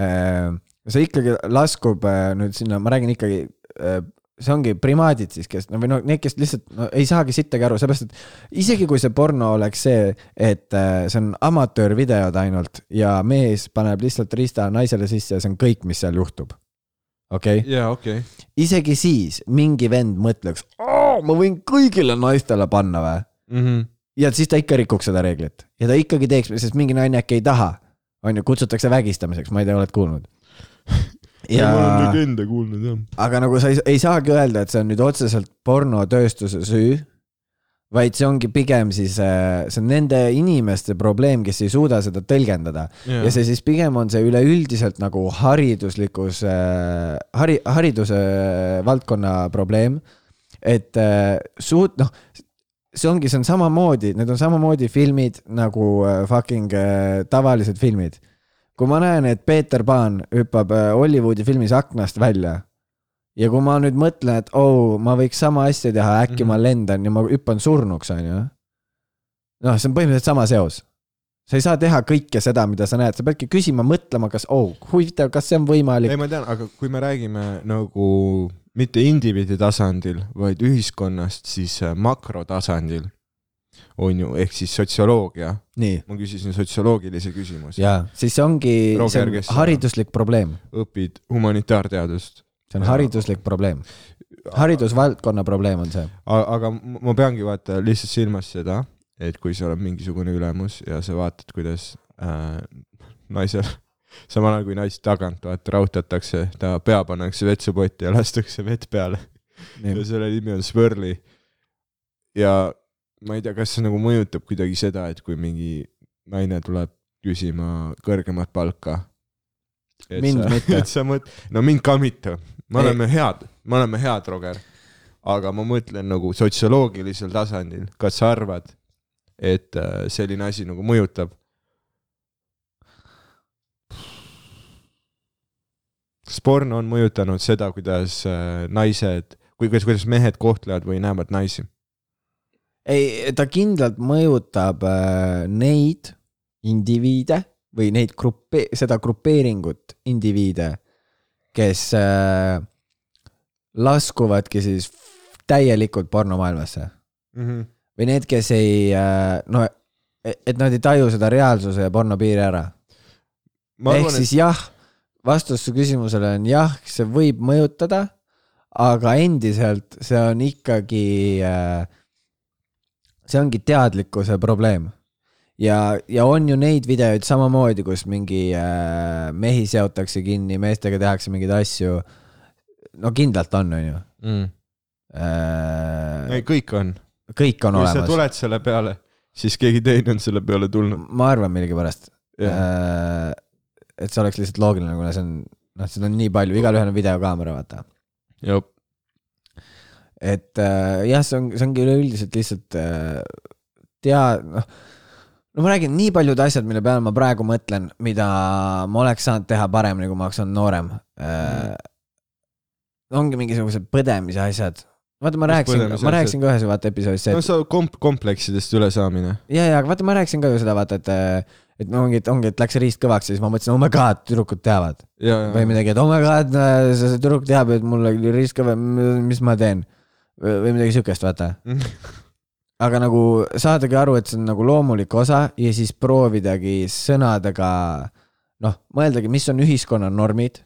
äh, , see ikkagi laskub äh, nüüd sinna , ma räägin ikkagi äh, , see ongi primaadid siis , kes no või no need , kes lihtsalt no, ei saagi sittagi aru , sellepärast et isegi kui see porno oleks see , et äh, see on amatöörvideod ainult ja mees paneb lihtsalt riista naisele sisse ja see on kõik , mis seal juhtub . okei okay? ,
jaa , okei okay. .
isegi siis mingi vend mõtleks , ma võin kõigile naistele panna või ?
Mm -hmm.
ja siis ta ikka rikuks seda reeglit ja ta ikkagi teeks , sest mingi naine äkki ei taha , on ju , kutsutakse vägistamiseks , ma ei tea , oled kuulnud
ja... . ma olen
ja ,
legende kuulnud jah .
aga nagu sa ei, ei saagi öelda , et see on nüüd otseselt pornotööstuse süü , vaid see ongi pigem siis , see on nende inimeste probleem , kes ei suuda seda tõlgendada ja see siis pigem on see üleüldiselt nagu hariduslikus äh, , hari- , hariduse valdkonna probleem . et äh, suut- , noh , see ongi , see on samamoodi , need on samamoodi filmid nagu äh, fucking äh, tavalised filmid . kui ma näen , et Peeter Pan hüppab äh, Hollywoodi filmis aknast välja ja kui ma nüüd mõtlen , et oo oh, , ma võiks sama asja teha , äkki mm -hmm. ma lendan ja ma hüppan surnuks , onju . noh , see on põhimõtteliselt sama seos . sa ei saa teha kõike seda , mida sa näed , sa peadki küsima , mõtlema , kas , oh , huvitav , kas see on võimalik
ei ,. ma tean , aga kui me räägime nagu mitte indiviidi tasandil , vaid ühiskonnast , siis äh, makrotasandil on ju , ehk siis sotsioloogia .
nii ,
ma küsisin sotsioloogilise küsimuse .
jaa , siis see ongi , see
Roger,
on
kes seda-
hariduslik probleem ,
õpid humanitaarteadust .
see on
Jaa.
hariduslik probleem , haridusvaldkonna probleem on see .
A- aga m- ma peangi vaata lihtsalt silmas seda , et kui sa oled mingisugune ülemus ja sa vaatad , kuidas äh, naisel samal ajal kui naist tagant vaata rautatakse , ta pea pannakse vetsupotti ja lastakse vett peale ja selle nimi on Swirly . ja ma ei tea , kas see nagu mõjutab kuidagi seda , et kui mingi naine tuleb küsima kõrgemat palka .
Mind mitte.
et sa mõt- , no mind ka mitte , me
Ei.
oleme head , me oleme head , Roger . aga ma mõtlen nagu sotsioloogilisel tasandil , kas sa arvad , et äh, selline asi nagu mõjutab ? kas porno on mõjutanud seda , kuidas äh, naised , kuidas , kuidas mehed kohtlevad või näevad naisi ?
ei , ta kindlalt mõjutab äh, neid indiviide või neid gruppe , seda grupeeringut indiviide , kes äh, laskuvadki siis täielikult pornomaailmasse või need , kes ei äh, , no et et nad ei taju seda reaalsuse ja porno piiri ära .
ma
ehk siis jah , vastus su küsimusele on jah , see võib mõjutada , aga endiselt see on ikkagi , see ongi teadlikkuse probleem . ja , ja on ju neid videoid samamoodi , kus mingi äh, mehi seotakse kinni , meestega tehakse mingeid asju . no kindlalt on , on ju .
mm. . ei , kõik on .
kõik on
kui sa
olemas ,
tuled selle peale , siis keegi teine on selle peale tulnud .
ma arvan millegipärast . Äh, et see oleks lihtsalt loogiline , kuna see on , noh , seda on nii palju , igalühel on videokaamera , vaata .
jah ,
et äh, jah , see on , see ongi üleüldiselt lihtsalt äh, tea , noh . no ma räägin , nii paljud asjad , mille peale ma praegu mõtlen , mida ma oleks saanud teha paremini , kui ma oleks olnud noorem äh, . ongi mingisugused põdemise asjad . vaata , ma
Mis
rääkisin ,
põdemise
ma
asjad?
rääkisin ka ühes vaata episoodis see ,
no
et
sa komp- , kompleksidest ülesaamine .
ja , ja aga vaata , ma rääkisin ka ju seda , vaata , et , et no ongi , et ongi , et läks riist kõvaks ja siis ma mõtlesin , oh my god , tüdrukud teavad .
ja ,
või
ja ,
midagi , et oh my god , see see tüdruk teab , et mul oli risk , mis ma teen . või midagi siukest , vaata . aga nagu saadagi aru , et see on nagu loomulik osa ja siis proovidagi sõnadega noh , mõeldagi , mis on ühiskonna normid .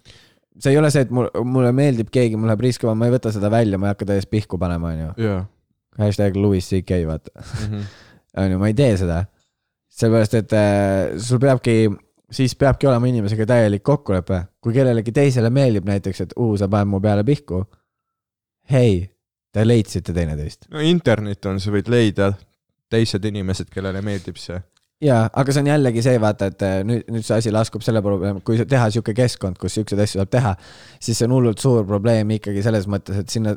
see ei ole see , et mul , mulle meeldib keegi , mul läheb riskima , ma ei võta seda välja , ma ei hakka täiesti pihku panema , onju .
ja .
hashtag Louis CK , vaata .
Mm-hmm.
onju , ma ei tee seda . sellepärast , et äh, sul peabki , siis peabki olema inimesega täielik kokkulepe , kui kellelegi teisele meeldib näiteks , et uu , sa paned mu peale pihku . hei , te leidsite teineteist .
no internet on , sa võid leida teised inimesed , kellele meeldib see .
jaa , aga see on jällegi see , vaata , et äh, nüüd , nüüd see asi laskub selle probleemi , kui sa- teha sihuke keskkond , kus siukseid asju saab teha , siis see on hullult suur probleem ikkagi selles mõttes , et sinna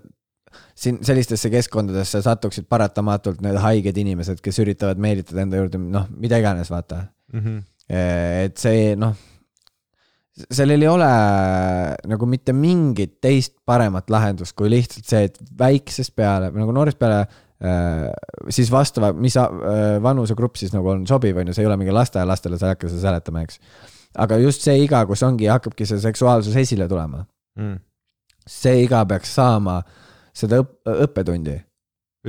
siin sellistesse keskkondadesse satuksid paratamatult need haiged inimesed , kes üritavad meelitada enda juurde , noh , mida iganes , vaata et see noh , sellel ei ole nagu mitte mingit teist paremat lahendust kui lihtsalt see , et väiksest peale või nagu noorest peale äh, siis vastava , mis a- äh, vanusegrupp siis nagu on sobiv , on ju , see ei ole mingi lasteaialastele , sa ei hakka seda seletama , eks . aga just see iga , kus ongi , hakkabki see seksuaalsus esile tulema , see iga peaks saama seda õp- , õppetundi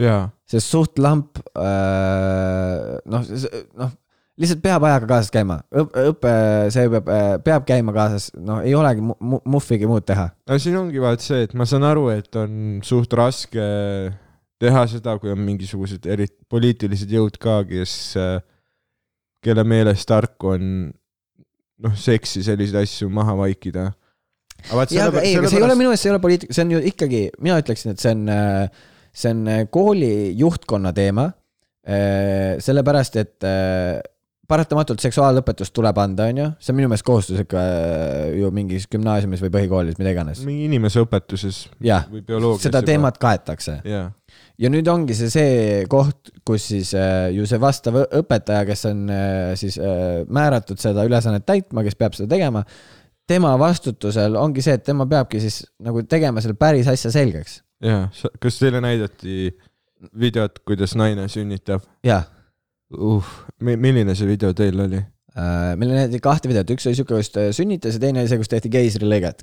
ja ,
see suht lamp äh, , noh , noh , lihtsalt peab ajaga kaasas käima , õpe , see peab , peab käima kaasas , noh , ei olegi mu- mu- muhvigi muud teha .
no siin ongi vaat see , et ma saan aru , et on suht raske teha seda , kui on mingisugused eri- , poliitilised jõud ka , kes , kelle meelest tark on noh , seksi , selliseid asju maha vaikida . aga vaat
jaa , aga ei , aga see ei ole
sellepärast-
minu meelest , see ei ole poliitika , see on ju ikkagi , mina ütleksin , et see on , see on äh, kooli juhtkonna teema . sellepärast , et äh, paratamatult seksuaalõpetust tuleb anda , on ju , see on minu meelest kohustuslik äh, ju mingis gümnaasiumis või põhikoolis , mida iganes .
mingi inimeseõpetuses
jah ,
või bioloogias .
seda teemat kaetakse .
jaa ,
ja nüüd ongi see see koht , kus siis äh, ju see vastav õ- õpetaja , kes on äh, siis äh, määratud seda ülesannet täitma , kes peab seda tegema , tema vastutusel ongi see , et tema peabki siis nagu tegema selle päris asja selgeks .
jaa , kas teile näidati videot , kuidas naine sünnitab ?
jah ,
uh, . milline see video teil oli ?
Äh, meil näidati kahte videot , üks oli siuke , kus ta sünnitas ja teine oli see , kus tehti keisrilõiget .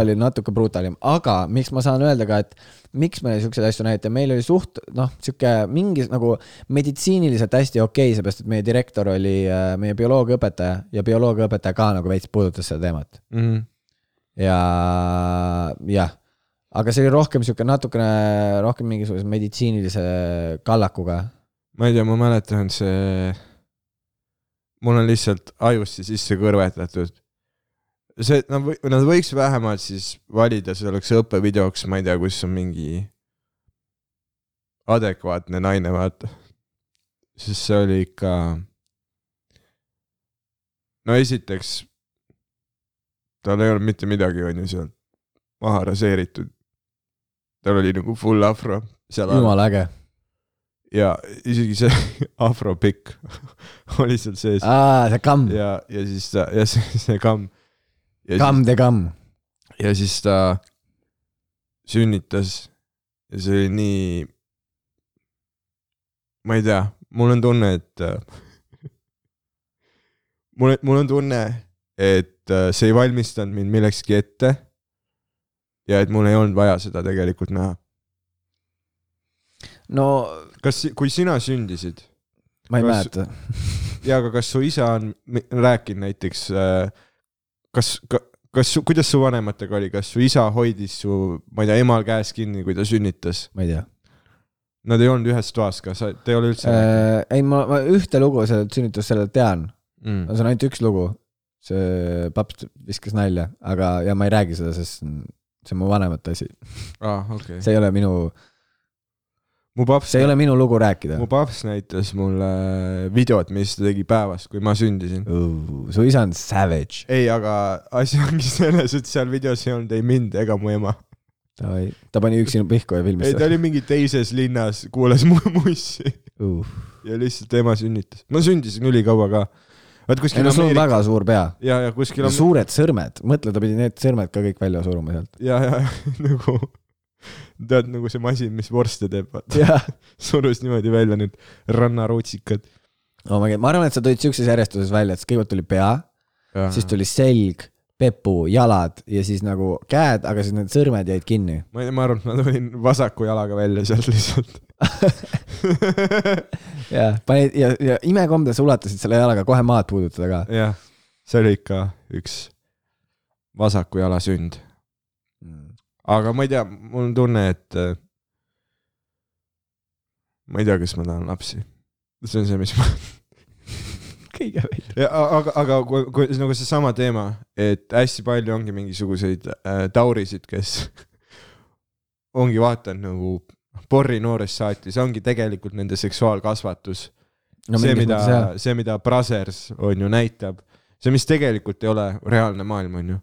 Aa.
oli natuke brutalim , aga miks ma saan öelda ka , et miks meile siukseid asju näidati , meil oli suht noh , siuke mingi nagu meditsiiniliselt hästi okei okay, , seepärast et meie direktor oli äh, meie bioloogiaõpetaja ja bioloogiaõpetaja ka nagu veits puudutas seda teemat ja jah , aga see oli rohkem siuke natukene rohkem mingisuguse meditsiinilise kallakuga
ma ei tea , ma mäletan see , mul on lihtsalt ajusse sisse kõrvetatud . see , nad või- , nad võiks vähemalt siis valida selleks õppevideoks , ma ei tea , kus on mingi adekvaatne naine , vaata . sest see oli ikka . no esiteks , tal ei olnud mitte midagi , on ju , seal maha raseeritud . tal oli nagu full afro seal all
jumala äge .
ja isegi see afropikk oli seal sees
aa , see kamm ,
ja , ja siis ta ja see, see kamm . ja ,
kamm de kamm .
ja siis ta sünnitas ja see oli nii . ma ei tea , mul on tunne , et äh, mul , mul on tunne , et äh, see ei valmistanud mind millekski ette . ja et mul ei olnud vaja seda tegelikult näha .
no
kas , kui sina sündisid ,
ma ei
Kas-
mäleta .
ja aga kas su isa on mi- rääkinud näiteks , kas ka, , kas , kuidas su vanematega oli , kas su isa hoidis su , ma ei tea , emal käes kinni , kui ta sünnitas ?
ma ei tea .
Nad ei olnud ühes toas ka , sa , te ei ole üldse äh... .
ei , ma , ma ühte lugu sellelt sünnitust sellelt tean ,
Mm.
see on ainult üks lugu . see paps viskas nalja , aga , ja ma ei räägi seda , sest see on- see on mu vanemate asi ,
Ah, okay.
see ei ole minu ,
mu paps
see ei , ole minu lugu rääkida
mu . paps näitas mulle äh, videot , mis ta tegi päevas , kui ma sündisin .
su isa on savage .
ei , aga asi ongi selles , et seal videos ei olnud ei mind ega mu ema .
ta pani üksi pihku ja filmis
ei , ta
seda .
oli mingi teises linnas , kuulas mu mussi ja lihtsalt ema sünnitas . ma sündisin ülikaua ka . vaat
ei
kuskil
no sul on väga suur pea
ja , ja kuskil on
suured sõrmed , mõtle , ta pidi need sõrmed ka kõik välja suruma sealt .
ja , ja nagu tead nagu see masin , mis vorste teeb , vaata ,
jah .
surus niimoodi välja need rannarootsikad .
no Oh ma , ma arvan , et sa tulid siukses järjestuses välja , et kõigepealt tuli pea , siis tuli selg , pepu , jalad ja siis nagu käed , aga siis need sõrmed jäid kinni .
ma ei tea , ma arvan , et ma tulin vasaku jalaga välja sealt lihtsalt .
ja panid ja , ja imekombes ulatasid selle jalaga kohe maad puudutada ka .
jah , see oli ikka üks vasaku jala sünd , aga ma ei tea , mul on tunne , et äh, ma ei tea , kas ma tahan lapsi . see on see , mis ma
kõige veidram .
ja a- aga , aga kui , kui nagu seesama teema , et hästi palju ongi mingisuguseid äh, taurisid , kes ongi vaadanud nagu porri noorest saati , see ongi tegelikult nende seksuaalkasvatus
no nagu
no, . see ,
mingis
mida
mõttes jah .,
see , mida Brothers on ju näitab , see , mis tegelikult ei ole reaalne maailm , on ju .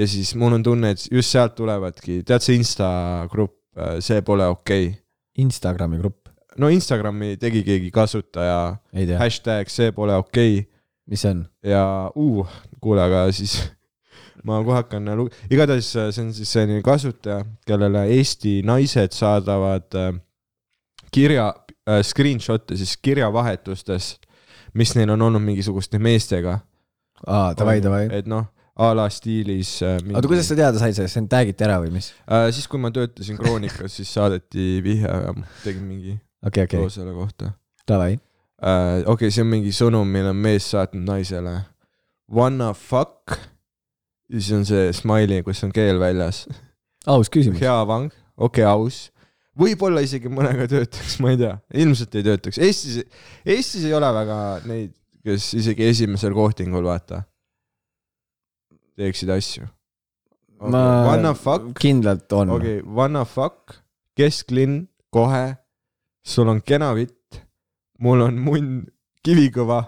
ja siis mul on tunne , et just sealt tulevadki , tead see Insta grupp , see pole okei okay. .
Instagrami grupp ,
no Instagrami tegi keegi kasutaja ,
ei tea ,
hashtag see pole okei okay.
mis see on ?
ja uh, kuule , aga siis ma kohe hakkan lu- , igatahes äh, see on siis selline kasutaja , kellele Eesti naised saadavad äh, kirja äh, , screenshot'e siis kirjavahetustest , mis neil on olnud mingisuguste meestega .
aa , davai , davai .
et noh , a la stiilis äh, mingi... .
oota , kuidas sa teada said sellest , sind tag'iti ära või mis ?
äh, ? siis , kui ma töötasin Kroonikas , siis saadeti vihje ja ma tegin mingi okay.
okei , okei
loo , selle kohta .
davai .
äh, okei okay, , see on mingi sõnum , mille on mees saatnud naisele . Wanna fuck . ja siis on see smiley , kus on keel väljas .
aus küsimus .
hea vang , okei okay, , aus . võib-olla isegi mõnega töötaks , ma ei tea , ilmselt ei töötaks . Eestis , Eestis ei ole väga neid , kes isegi esimesel kohtingul , vaata , teeksid asju okay. . Wanna fuck ,
kindlalt on okay. .
okei okay, , wanna fuck , kesklinn , kohe , sul on kena vitt , mul on munn kivikõva ,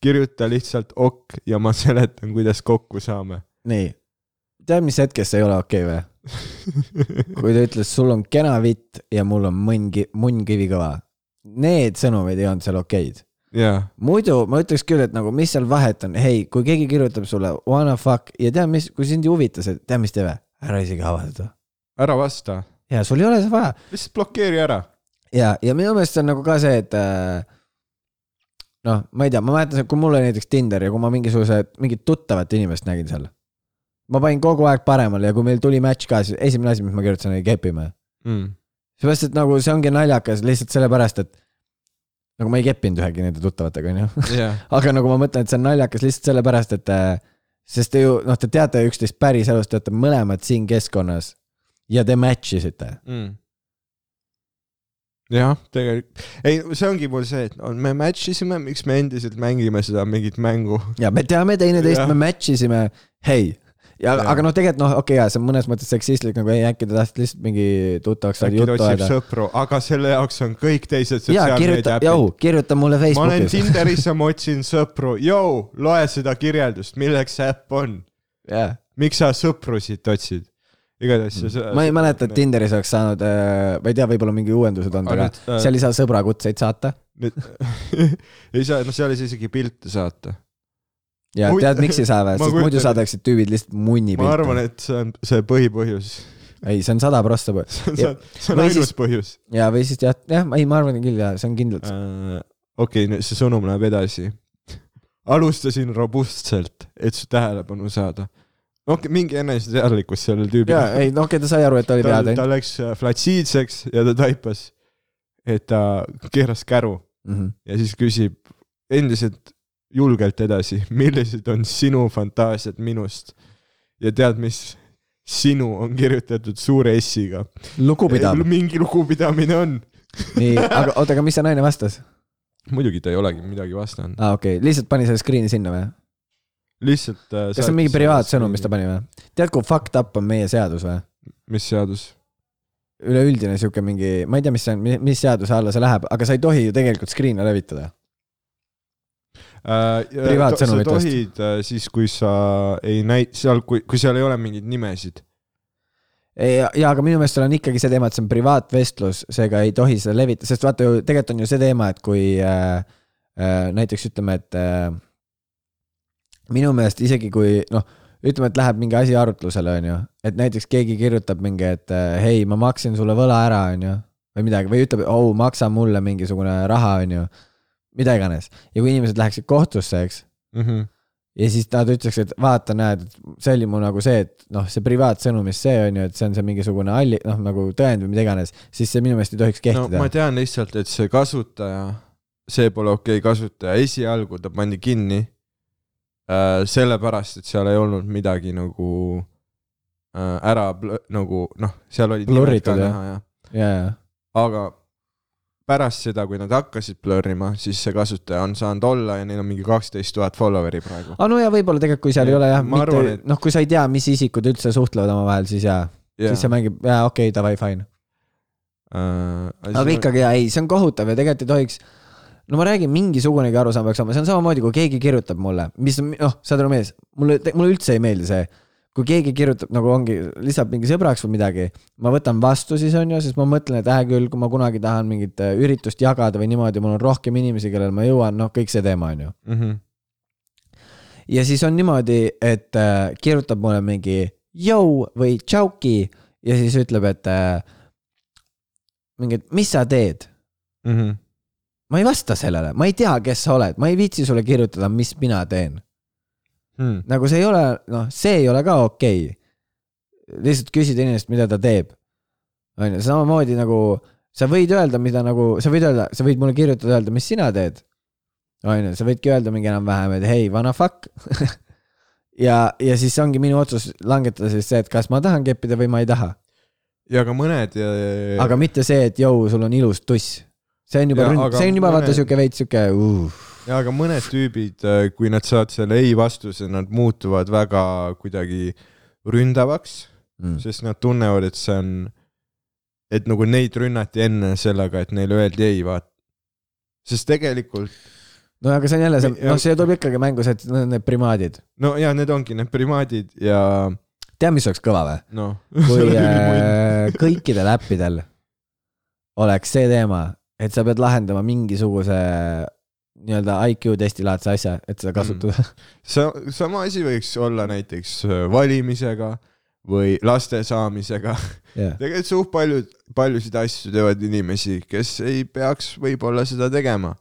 kirjuta lihtsalt ok ja ma seletan , kuidas kokku saame .
nii , tead , mis hetkest see ei ole okei okay, või ? kui ta ütles , sul on kena vitt ja mul on mõnn , munn kivikõva . Need sõnumid ei olnud seal okeid .
jaa ,
muidu ma ütleks küll , et nagu , mis seal vahet on , hei , kui keegi kirjutab sulle wanna fuck ja tead , mis , kui sind ei huvita see , tead , mis tee või ? ära isegi avaldada .
ära vasta ,
ja sul ei ole seda vaja
lihtsalt blokeeri ära .
ja , ja minu meelest see on nagu ka see , et äh, noh , ma ei tea , ma mäletan , kui mul oli näiteks Tinder ja kui ma mingisuguse , mingit tuttavat inimest nägin seal . ma panin kogu aeg paremale ja kui meil tuli match ka , siis esimene asi , mis ma kirjutasin , oli kepime .
mm. .
seepärast , et nagu see ongi naljakas lihtsalt sellepärast , et nagu ma ei keppinud ühegi nende tuttavatega , onju .
Yeah.
aga nagu ma mõtlen , et see on naljakas lihtsalt sellepärast , et äh, sest te ju , noh , te teate üksteist päriselus , te olete mõlemad siin keskkonnas ja te match isite .
mm. . jah , tegelikult , ei , see ongi mul see , et on, me match isime , miks me endiselt mängime seda mingit mängu .
ja me teame teineteist
Jah. ,
me match isime , hei . ja
Jaa.
aga noh , tegelikult noh , okei okay, , see on mõnes mõttes seksistlik nagu , ei äkki ta tahtis lihtsalt mingi tuttavaks saada
äkki ta
juttu
otsib
ajada .
sõpru , aga selle jaoks on kõik teised
ja kirjuta ,
sotsiaalmeediaäpid .
jõu , kirjuta mulle
ma olen
Facebookis .
Tinderis ja ma otsin sõpru , jõu , loe seda kirjeldust , milleks see äpp on ,
Yeah.
miks sa sõprusid otsid , igatahes see
ma ei mäleta , et Tinderis oleks saanud äh, , ma ei tea , võib-olla mingi uuendused on ,
Aga
aga
nüüd, äh,
seal ei saa sõbrakutseid saata .
nüüd ei saa , noh , seal ei saa isegi pilte saata .
ja
Huvitav-
tead , miks ei saa
Ma
või , sest
kujutan
muidu
ette.
saadaksid tüübid lihtsalt munni
ma arvan , et see on see põhipõhjus .
ei , see on sada prossa põ-
see on,
Ja-
see on
või
ainus
siis-
põhjus .
ja , või siis jah , jah , ei , ma arvan küll ja see on kindlalt .
Äh, okei okay, , see sõnum läheb edasi . alustasin robustselt , et su tähelepanu saada . okei okay, , mingi eneseteadlikkus sellel tüübil .
ja ei , no okei okay, , ta sai aru , et ta oli
ta,
peateinud
ta läks äh, flatsiidseks ja ta taipas , et ta keeras käru
mm . -hmm.
ja siis küsib endiselt julgelt edasi , millised on sinu fantaasiad minust . ja tead , mis sinu on kirjutatud suure S-iga .
lugupidav ,
mingi lugupidamine on .
nii , aga oota , aga mis see naine vastas ?
muidugi ta ei olegi midagi vastanud .
aa ah, , okei okay. , lihtsalt pani selle screen'i sinna või ?
lihtsalt . äh,
kas see on mingi privaatsõnum , mis ta pani või ? tead , kui fucked up on meie seadus või ?
mis seadus ?
üleüldine sihuke mingi , ma ei tea , mis see on , mis seaduse alla see läheb , aga sa ei tohi ju tegelikult screen'e
sa
levitada .
Äh,
Privaatsõnumit
tohid äh, siis , kui sa ei näi- , seal , kui , kui seal ei ole mingeid nimesid .
ja , ja aga minu meelest seal on ikkagi see teema , et see on privaatvestlus , seega ei tohi seda levitada , sest vaata ju tegelikult on ju see teema , et kui äh, äh, näiteks ütleme , et äh, minu meelest isegi kui noh , ütleme , et läheb mingi asi arutlusele , on ju , et näiteks keegi kirjutab mingi , et äh, hei , ma maksin sulle võla ära , on ju , või midagi või ütleb , oh , maksa mulle mingisugune raha , on ju , mida iganes ja kui inimesed läheksid kohtusse , eks
Mm -hmm.
ja siis nad ütleks , et vaata , näed , see oli mu nagu see , et noh , see privaatsõnumis see on ju , et see on see mingisugune alli- , noh nagu tõend või mida iganes , siis see minu meelest ei tohiks
no
kehtida
ma
no, .
tean lihtsalt , et see kasutaja , see pole okei okay kasutaja , esialgu ta pandi kinni äh, sellepärast , et seal ei olnud midagi nagu äh, ära blö- nagu noh , seal olid nimed
Blurritud,
ka
jah.
näha ja
ja , ja ,
aga pärast seda , kui nad hakkasid blurrima , siis see kasutaja on saanud olla ja neil on mingi kaksteist tuhat follower'i praegu .
aga no ja võib-olla tegelikult , kui seal ei ole jah ,
Ma arvan,
mitte
et- ,
noh , kui sa ei tea , mis isikud üldse suhtlevad omavahel , siis jaa yeah. , siis see mängib , jaa , okei okay, , davai , fine .
Äh,
aga . ikkagi jaa , ei , see on kohutav ja tegelikult ei tohiks , no ma räägin , mingisugunegi arusaam peaks olema , see on samamoodi , kui keegi kirjutab mulle , mis on- noh , saad aru , mees , mulle , mulle üldse ei meeldi see , kui keegi kirjutab nagu ongi , lisab mingi sõbraks või midagi , ma võtan vastu siis on ju , sest ma mõtlen , et hää küll , kui ma kunagi tahan mingit äh, üritust jagada või niimoodi , mul on rohkem inimesi , kellele ma jõuan , noh , kõik see teema on ju .
Mhm,
ja siis on niimoodi , et äh, kirjutab mulle mingi jõu või tšauki ja siis ütleb , et äh, mingi , et mis sa teed
mhm,
ma ei vasta sellele , ma ei tea , kes sa oled , ma ei viitsi sulle kirjutada , mis mina teen .
hmm.
nagu see ei ole , noh , see ei ole ka okei okay. . lihtsalt küsida inimest , mida ta teeb . on ju , samamoodi nagu sa võid öelda , mida nagu , sa võid öelda , sa võid mulle kirjutada , öelda , mis sina teed . on ju , sa võidki öelda mingi enam-vähem , et hei , vana fuck . ja , ja siis ongi minu otsus langetada siis see , et kas ma tahan keppida või ma ei taha .
ja ka mõned .
aga mitte see , et jõu , sul on ilus tuss . see on juba
Jaa, , aga
see on juba vaata
mõned-
sihuke veits sihuke uh.
ja aga mõned tüübid , kui nad saavad selle ei vastuse , nad muutuvad väga kuidagi ründavaks ,
Mm.
sest nad tunnevad , et see on , et nagu neid rünnati enne sellega , et neile öeldi ei , vaata . sest tegelikult ,
no aga see on jälle see ,
Mi- ja-
noh , see tuleb ikkagi mängu see , et need on need primaadid .
no ja need ongi need primaadid ja
tead , mis oleks kõva või ?
noh .
kui äh, kõikidel äppidel oleks see teema , et sa pead lahendama mingisuguse nii-öelda IQ testi laadse asja , et seda kasutada mm. .
sa- , sama asi võiks olla näiteks äh, valimisega või laste saamisega .
Yeah.
tegelikult suht paljud , paljusid asju teevad inimesi , kes ei peaks võib-olla seda tegema .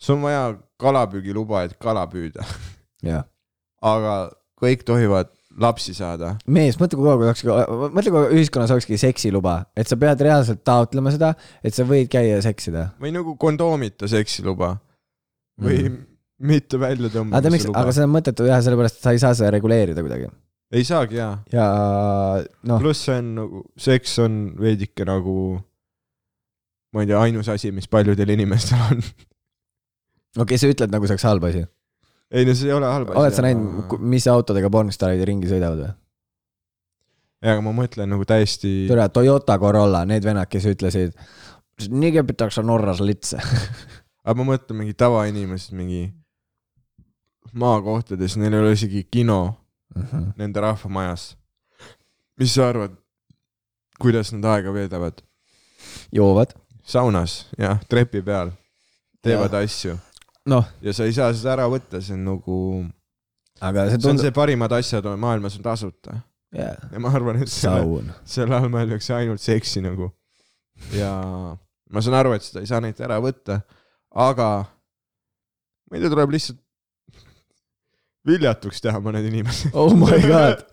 sul on vaja kalapüügiluba , et kala püüda ,
jah .
aga kõik tohivad lapsi saada .
mees , mõtle , kui kaua kui olekski , mõtle , kui ühiskonnas olekski seksiluba , et sa pead reaalselt taotlema seda , et sa võid käia seksida .
või nagu kondoomita seksiluba või mm. mitte välja
Mhm. aga tead miks
tõmbamise , Mm, luba
aga . seda on mõttetu teha , sellepärast et sa ei saa seda reguleerida kuidagi .
ei saagi jaa .
ja noh ,
pluss see on nagu , seks on veidike nagu , ma ei tea , ainus asi , mis paljudel inimestel on .
okei okay, , sa ütled nagu see oleks halb asi .
ei no see ei ole halb asi .
oled sa näinud ,? mis autodega pornostaarid ringi sõidavad või ?
jaa , aga ma mõtlen nagu täiesti ,
türa Toyota Corolla , need vennad , kes ütlesid , nii kepitakse Norras litse .
aga ma mõtlen mingi tavainimesed mingi maakohtades , neil ei ole isegi kino nende rahvamajas . mis sa arvad , kuidas nad aega veedavad ?
joovad .
saunas , jah , trepi peal , teevad ja. asju
noh ,
ja sa ei saa seda ära võtta , see on nagu ,
aga see
see on
tundub ,
see parimad asjad on- maailmas on tasuta
jaa ,
ja ma arvan , et selle ,
saun .
selle all mõeldakse ainult seksi nagu . ja ma saan aru , et seda ei saa neilt ära võtta , aga ma ei tea , tuleb lihtsalt viljatuks teha mõned inimesed .
oh my god ,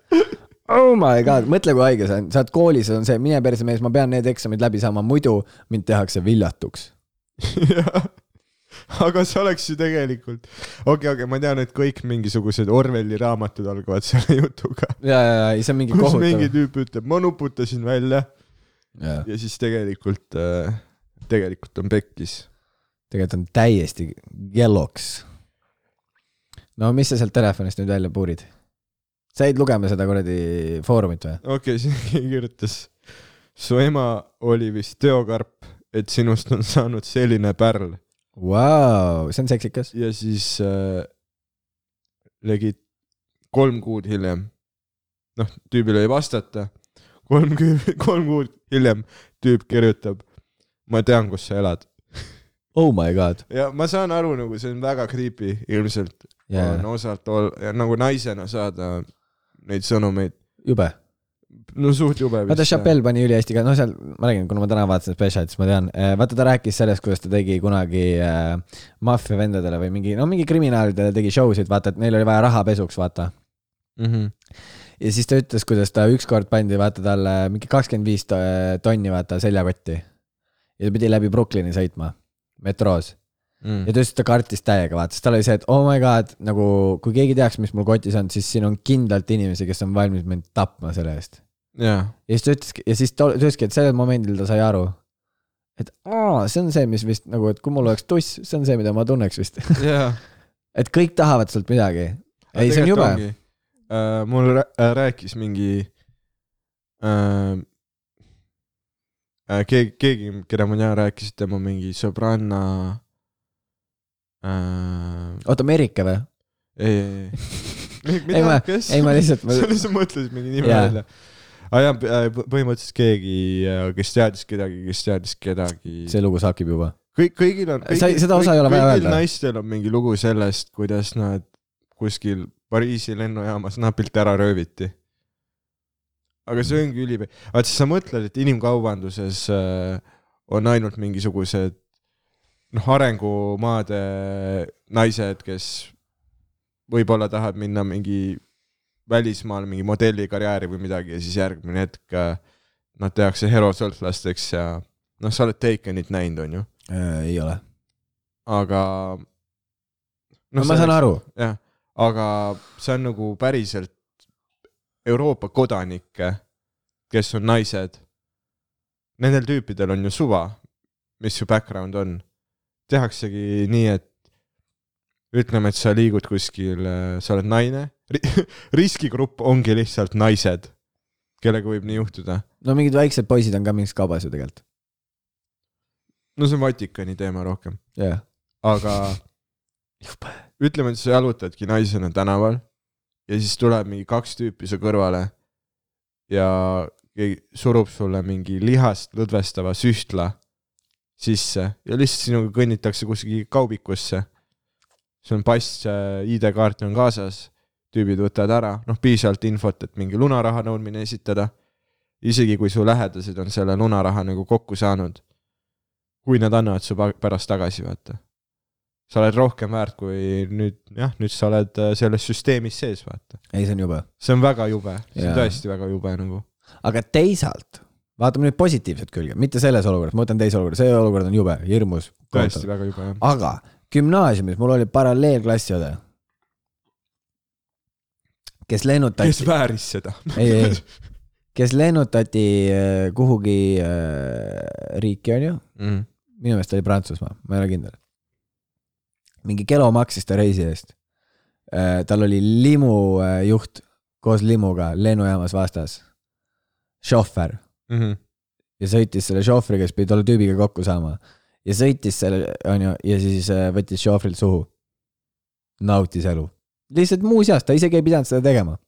oh my god , mõtle , kui haige see on , sa oled koolis , on see , mine perse mees , ma pean need eksamid läbi saama , muidu mind tehakse viljatuks .
jah , aga see oleks ju tegelikult , okei okay, , okei okay, , ma tean , et kõik mingisugused Orwelli raamatud algavad selle jutuga ,
ja , ja , ja ei see on mingi
kus mingi
kohutav .
tüüp ütleb , ma nuputasin välja ja siis tegelikult , tegelikult on pekkis .
tegelikult on täiesti yellow'ks . no mis sa sealt telefonist nüüd välja puurid ? sa jäid lugema seda kuradi foorumit või ?
okei okay, , siin keegi kirjutas , su ema oli vist teokarp , et sinust on saanud selline pärl
Vau , see on seksikas .
ja siis äh, legit kolm kuud hiljem , noh , tüübile ei vastata , kolm , kolm kuud hiljem tüüp kirjutab , ma tean , kus sa elad .
Oh my god .
ja ma saan aru , nagu see on väga creepy ilmselt yeah. ,
jaa ,
on osalt ol- , nagu naisena saada neid sõnumeid ,
jube .
no suht jube
vaata , Chappelle pani ülihästi ka , no seal , ma räägin , kuna ma täna vaatasin spetsialit , siis ma tean , vaata , ta rääkis sellest , kuidas ta tegi kunagi äh, maffia vendadele või mingi , no mingi kriminaalidele tegi show sid , vaata , et neil oli vaja rahapesuks , vaata .
mm . -hmm.
ja siis ta ütles , kuidas ta ükskord pandi , vaata talle mingi kakskümmend viis tonni , vaata , seljakotti . ja ta pidi läbi Brooklyni sõitma , metroos . ja
Mm.
ta ütles , et ta kartis täiega , vaata , sest tal oli see , et oh my god , nagu kui keegi teaks , mis mul kotis on , siis siin on kindlalt inimesi , kes on valmis mind tapma selle eest .
jaa ,
ja siis ta ütleski , ja siis ta ta ütleski , et sellel momendil ta sai aru , et aa , see on see , mis vist nagu , et kui mul oleks tuss , see on see , mida ma tunneks vist .
jaa .
et kõik tahavad sult midagi . ei , see on jube .
Uh, mul rää- äh, rääkis mingi uh, , äh, keegi , keegi , keda ma tean , rääkis , et tema mingi sõbranna uh, .
oota , Merike või ?
ei , ei , ei .
Ei, ma-
kes ?
ei , ma lihtsalt ,
sa lihtsalt mõtlesid mingi nime
Jaa.
välja . aa jaa , põhimõtteliselt keegi , kes teadis kedagi , kes teadis kedagi .
see lugu saakib juba .
kõik , kõigil on .
Sa ei- seda osa ei ole vaja öelda.
kõigil naistel on mingi lugu sellest , kuidas nad kuskil Pariisi lennujaamas napilt ära rööviti . aga see ongi ülipe- , vaat siis sa mõtled , et inimkaubanduses äh, on ainult mingisugused noh , arengumaade naised , kes võib-olla tahavad minna mingi välismaal mingi modellikarjääri või midagi ja siis järgmine hetk äh, nad tehakse herosõltlasteks ja noh , sa oled Takenit näinud , on ju ,
Äh, ei ole .
aga .
no ma saan aru .
jah , aga see on nagu päriselt Euroopa kodanikke , kes on naised . Nendel tüüpidel on ju suva , mis su background on . tehaksegi nii , et ütleme , et sa liigud kuskil , sa oled naine , riskigrupp ongi lihtsalt naised , kellega võib nii juhtuda .
no mingid väiksed poisid on ka mingis kaubas ju tegelikult .
no see on Vatikani teema rohkem ,
jah .
aga
jube .
ütleme , et sa jalutadki naisena tänaval ja siis tuleb mingi kaks tüüpi su kõrvale ja keegi surub sulle mingi lihast lõdvestava süstla sisse ja lihtsalt sinuga kõnnitakse kuskil kaubikusse . sul on pass , ID-kaart on kaasas , tüübid võtavad ära , noh piisavalt infot , et mingi lunaraha nõudmine esitada . isegi kui su lähedased on selle lunaraha nagu kokku saanud . kui nad annavad su pa- pärast tagasi , vaata . sa oled rohkem väärt kui nüüd jah , nüüd sa oled äh, selles süsteemis sees , vaata .
ei , see on jube .
see on väga jube , see
Jaa.
on tõesti väga jube nagu .
aga teisalt , vaatame nüüd positiivset külge , mitte selles olukorras , ma võtan teise olukorra , see olukord on jube , hirmus .
tõesti väga jube jah .
aga gümnaasiumis mul oli paralleelklassiosa , kes lennutati
kes , vääris seda ?
ei , ei , kes lennutati äh, kuhugi äh, riiki , onju ,
Mhm.
minu meelest oli Prantsusmaa , ma ei ole kindel . mingi kelo maksis ta reisi eest . tal oli limujuht koos limuga lennujaamas vastas , šohver
Mhm.
ja sõitis selle šohvriga , siis pidi tolle tüübiga kokku saama ja sõitis selle , onju , ja siis äh, võttis šohvrilt suhu . nautis elu , lihtsalt muuseas , ta isegi ei pidanud seda tegema .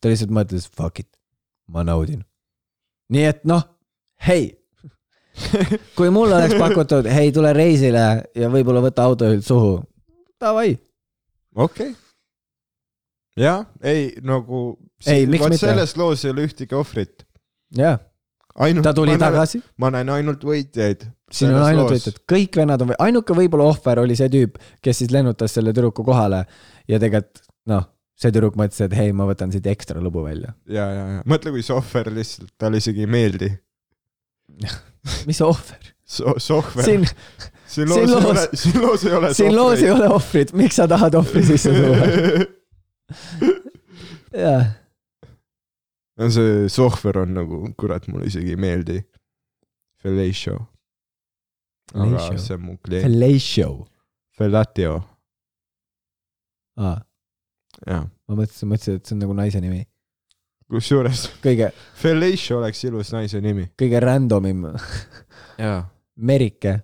ta lihtsalt mõtles , fuck it , ma naudin . nii et noh , hei , kui mulle oleks pakutud , hei , tule reisile ja võib-olla võta autojuhilt suhu , davai ,
okei . jaa , ei nagu .
Ei, miks mitte?
selles loos ei ole ühtegi ohvrit .
jah ,
ainult .
ta tuli . tagasi ,
ma näen ainult võitjaid .
siin on ainult võitjad , kõik vennad on , ainuke võib-olla ohver oli see tüüp , kes siis lennutas selle tüdruku kohale ja tegelikult noh , see tüdruk mõtles , et hei , ma võtan siit ekstra lõbu välja .
ja , ja , ja mõtle , kui see ohver lihtsalt , talle isegi ei meeldi .
mis ohver ?
So- , sohver .
siin ,
siin
siin
loos ei
loos-
ole , siin loos ei ole .
siin loos ei ole ohvrit , miks sa tahad ohvri sisse tuua ? jah ,
no see sohver on nagu , kurat , mulle isegi ei meeldi . Fellatio . aga
Fellatio.
see on mu klient .
fellatio .
Fellatio ,
aa ,
jah .
ma mõtlesin , mõtlesin , et see on nagu naise nimi .
kusjuures
kõige ,
Fellatio oleks ilus naise nimi .
kõige randomim ,
jaa .
Merike .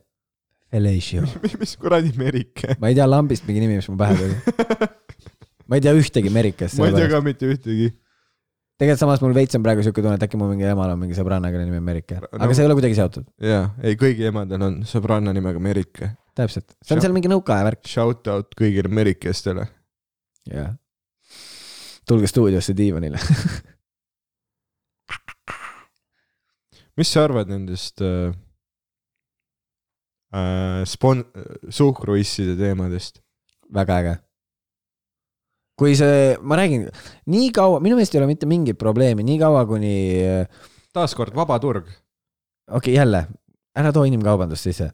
Fellatio .
mis kuradi Merike ?
ma ei tea lambist mingi nimi , mis mu pähe tuli . ma ei tea ühtegi Merikest .
ma ei tea ka mitte ühtegi .
tegelikult samas mul veits on praegu siuke tunne , et äkki mu mingi emal on mingi sõbranna , kelle nimi on Merike , aga
No-
see ei ole kuidagi seotud ,
jaa , ei kõigi emadel on sõbranna nimega Merike .
täpselt , see on
Sure.
seal mingi nõukaaja värk .
Shout out kõigile Merikestele .
jah . tulge stuudiosse diivanile .
mis sa arvad nendest äh, äh, spon- , suhkruisside teemadest ?
väga äge . kui see , ma räägin , nii kaua , minu meelest ei ole mitte mingit probleemi , nii kaua kuni , okei
taaskord vaba turg .
okay, , jälle , ära too inimkaubandust sisse .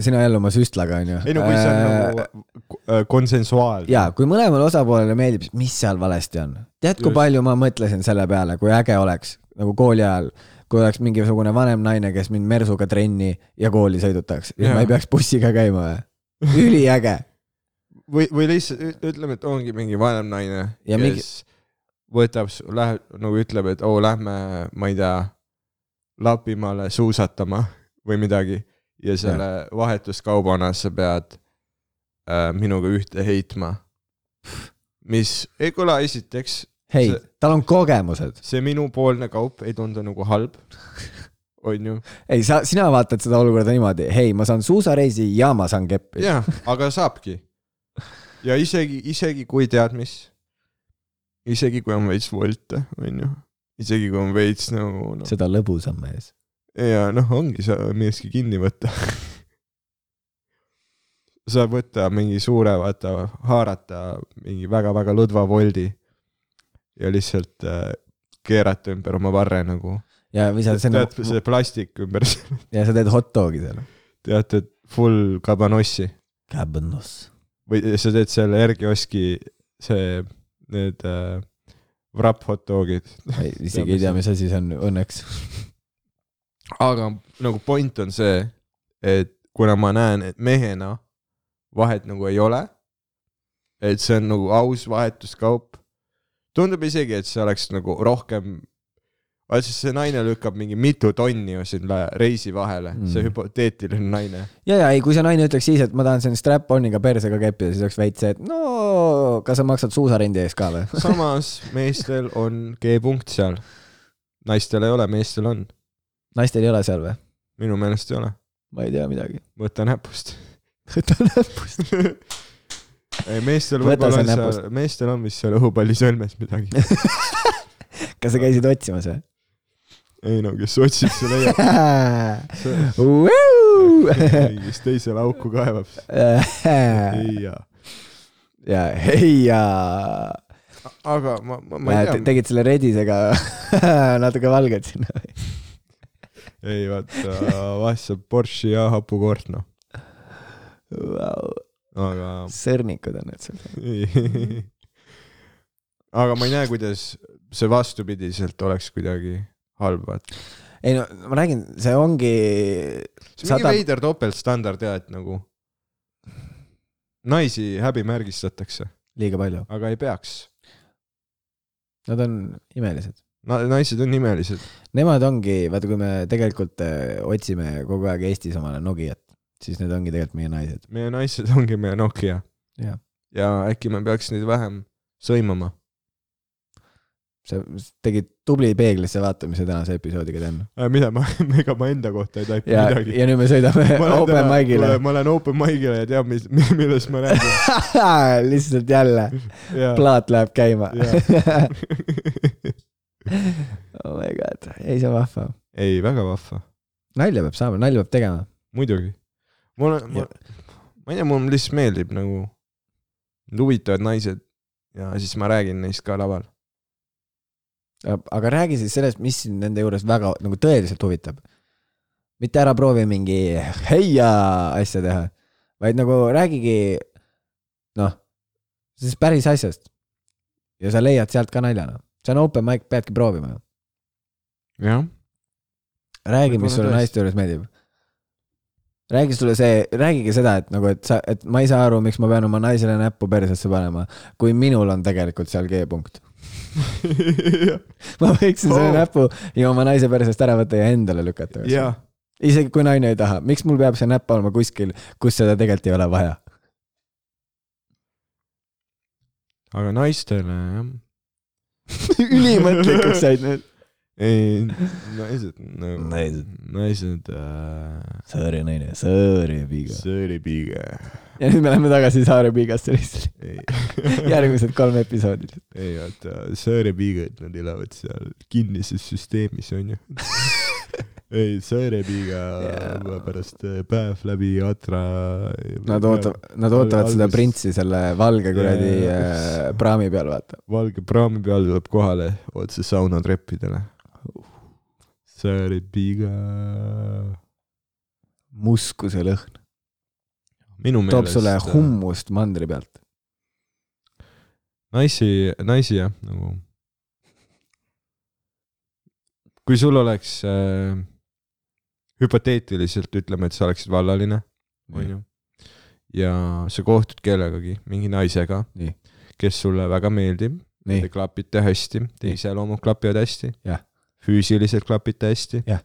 sina jälle oma süstlaga , onju .
ei no kui see on nagu k- äh, konsensuaalne .
jaa , kui mõlemale osapoolele meeldib , siis mis seal valesti on ? tead , kui
Just.
palju ma mõtlesin selle peale , kui äge oleks nagu kooli ajal , kui oleks mingisugune vanem naine , kes mind mersuga trenni ja kooli sõidutaks ja
Jaa.
ma ei peaks bussiga käima või ? üliäge
või , või lihtsalt üt- ütleme , et ongi mingi vanem naine ,
Ja
kes
mingi-
mingi... võtab , läheb nagu ütleb , et oo , lähme , ma ei tea , Lapimaale suusatama või midagi ja selle vahetuskaubana sa pead äh, minuga ühte heitma . mis , ei kuule , esiteks
hei
See- ,
tal on kogemused .
see minupoolne kaup ei tundu nagu halb , onju .
ei , sa , sina vaatad seda olukorda niimoodi , hei , ma saan suusareisi ja ma saan keppi .
jah , aga saabki . ja isegi , isegi kui tead mis , isegi kui on veits volte , onju , isegi kui on veits nagu noh ,
seda lõbusam mees .
ja noh , ongi , sa millestki kinni võtta . saab võtta mingi suure , vaata , haarata mingi väga-väga lõdva voldi ja lihtsalt äh, keerata ümber oma varre nagu .
ja visad sinna
tead , see nagu- plastik ümber
nagu ja sa teed hot dog'i seal .
teatud full kabanossi
Cabanos .
või sa teed selle R-kioski , see , need äh, wrap hot dog'id .
ei , isegi ei tea , mis asi see on , õnneks .
aga nagu point on see , et kuna ma näen , et mehena vahet nagu ei ole , et see on nagu aus vahetuskaup , tundub isegi , et see oleks nagu rohkem , vaat siis see naine lükkab mingi mitu tonni ju sinna reisi vahele mm. , see
Mm.
hüpoteetiline naine .
ja , ja ei , kui see naine ütleks siis , et ma tahan siin strap-on'iga persega keppida , siis oleks veits see , et no kas sa maksad suusarendi eest ka või ?
samas meestel on G-punkt seal , naistel ei ole , meestel on ,
naistel ei ole seal või ?
minu meelest ei ole .
ma ei tea midagi .
võta näpust .
võta näpust .
ei , meestel võib-olla
Võta
on
see
seal
näpust. ,
meestel on vist seal õhupallisõlmes midagi .
kas sa käisid otsimas või ?
ei no , kes otsib , see leiab . kes teisele auku kaevab . ei jaa .
ja hei ja
aga ma , ma , ma ei
Näed,
tea ,
tegid selle redisega natuke valget sinna .
ei vaata , vahest saab Porsche ja hapukoort noh ,
Wow.
aga
sõrnikud on need seal .
ei . aga ma ei näe , kuidas see vastupidiselt oleks kuidagi halb , vaata .
ei no ma räägin , see ongi ,
see on mingi
Sada-
veider topeltstandard ja , et nagu naisi häbimärgistatakse ,
liiga palju ,
aga ei peaks
nad on imelised .
Na, . naised on imelised .
Nemad ongi , vaata , kui me tegelikult äh, otsime kogu aeg Eestis omale Nokiat , siis need ongi tegelikult meie naised .
meie naised ongi meie Nokia .
Jah.
ja äkki me peaks neid vähem sõimama .
sa tegid tubli peeglisse vaatamise tänase episoodiga , Dan .
Äh, mida ma , ega ma enda kohta ei taipa
ja ,
midagi .
ja nüüd me sõidame open mic'ile .
ma lähen open mic'ile ja tean , mis , millest ma räägin .
lihtsalt jälle ,
ja ,
plaat läheb käima ..
ja
oh my god , ei see on vahva .
ei , väga vahva ,
nalja peab saama , nalja peab tegema .
muidugi . mul on , ma ma ei tea , mulle lihtsalt meeldib nagu need huvitavad naised ja siis ma räägin neist ka laval .
Äh, aga räägi siis sellest , mis sind nende juures väga nagu tõeliselt huvitab . mitte ära proovi mingi heia asja teha , vaid nagu räägigi noh , sellest päris asjast . ja sa leiad sealt ka nalja , noh . see on open mic , peadki proovima .
jah ,
räägi , mis
Võib-olla
sulle
tõesti.
naiste juures meeldib . räägi sulle see , räägige seda , et nagu , et sa , et ma ei saa aru , miks ma pean oma naisele näppu persesse panema , kui minul on tegelikult seal G-punkt . ma võiksin selle
Oo.
näpu ja oma naise persest ära võtta ja endale lükata .
ja ,
isegi kui naine ei taha , miks mul peab see näpp olema kuskil , kus seda tegelikult ei ole vaja ?
aga naistele jah
ülimõtlikuks said nüüd .
ei , naised nagu
Naised. ,
naised äh, ,
Sorry naine , sorry piiga .
see oli pigem ,
ja nüüd me läheme tagasi Saare piigasse lihtsalt ,
ei ,
järgmised kolm episoodi .
ei vaata , see oli pigem , et nad elavad seal kinnises süsteemis onju . ei , sõõrepiiga
Jaa.
yeah. pärast äh, päev läbi atra . äh,
Nad ootavad , nad ootavad seda
Alguses-
printsi selle valge kuradi
Jaa.
äh, praami peal , vaata .
valge praami peal tuleb kohale otse sauna treppidele . sõõrepiiga . äh,
muskuse lõhn
minu meelest . äh,
toob sulle . hummust mandri pealt .
naisi , naisi jah , nagu . kui sul oleks äh, , hüpoteetiliselt ütleme , et sa oleksid vallaline , onju . ja sa kohtud kellegagi , mingi naisega
Nii. ,
kes sulle väga meeldib ,
nii
te , klapite hästi , te
Nii.
iseloomud klapivad hästi
Jah. .
füüsiliselt klapite hästi .
Jah.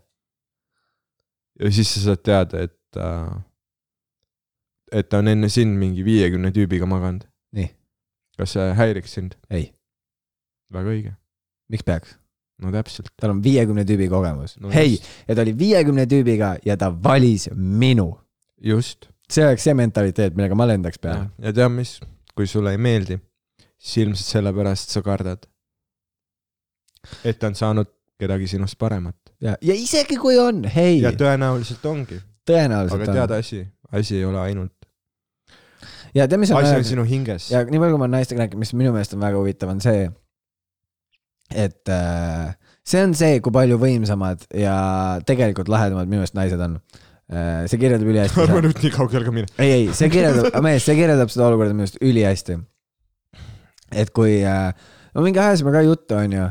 ja siis sa saad teada , et äh, , et ta on enne sind mingi viiekümne tüübiga maganud .
Nii.
kas see häiriks sind ?
ei ,
väga õige .
miks peaks ?
no täpselt .
tal on viiekümne tüübi kogemus
No
no, . hei
just. ,
ja ta oli viiekümne tüübiga ja ta valis minu .
just .
see oleks see mentaliteet , millega ma lendaks peale .
ja tead mis , kui sulle ei meeldi , siis ilmselt sellepärast sa kardad , et ta on saanud kedagi sinust paremat .
ja , ja isegi kui on , hei
ja , tõenäoliselt ongi , aga
tõenäoliselt
tead
on .
asi , asi ei ole ainult ,
ja tead , mis on
asi on sinu hinges .
ja nii palju , kui ma olen naistega rääkinud , mis minu meelest on väga huvitav , on see , et äh, see on see , kui palju võimsamad ja tegelikult lahedamad minu meelest naised on . see kirjeldab ülihästi
ärme
seda .
nüüd nii kaugele ka mine .
ei , ei , see kirjeldab , mees , see kirjeldab seda olukorda minu arust ülihästi . et kui äh, , no mingi ajas me ka juttu , onju ,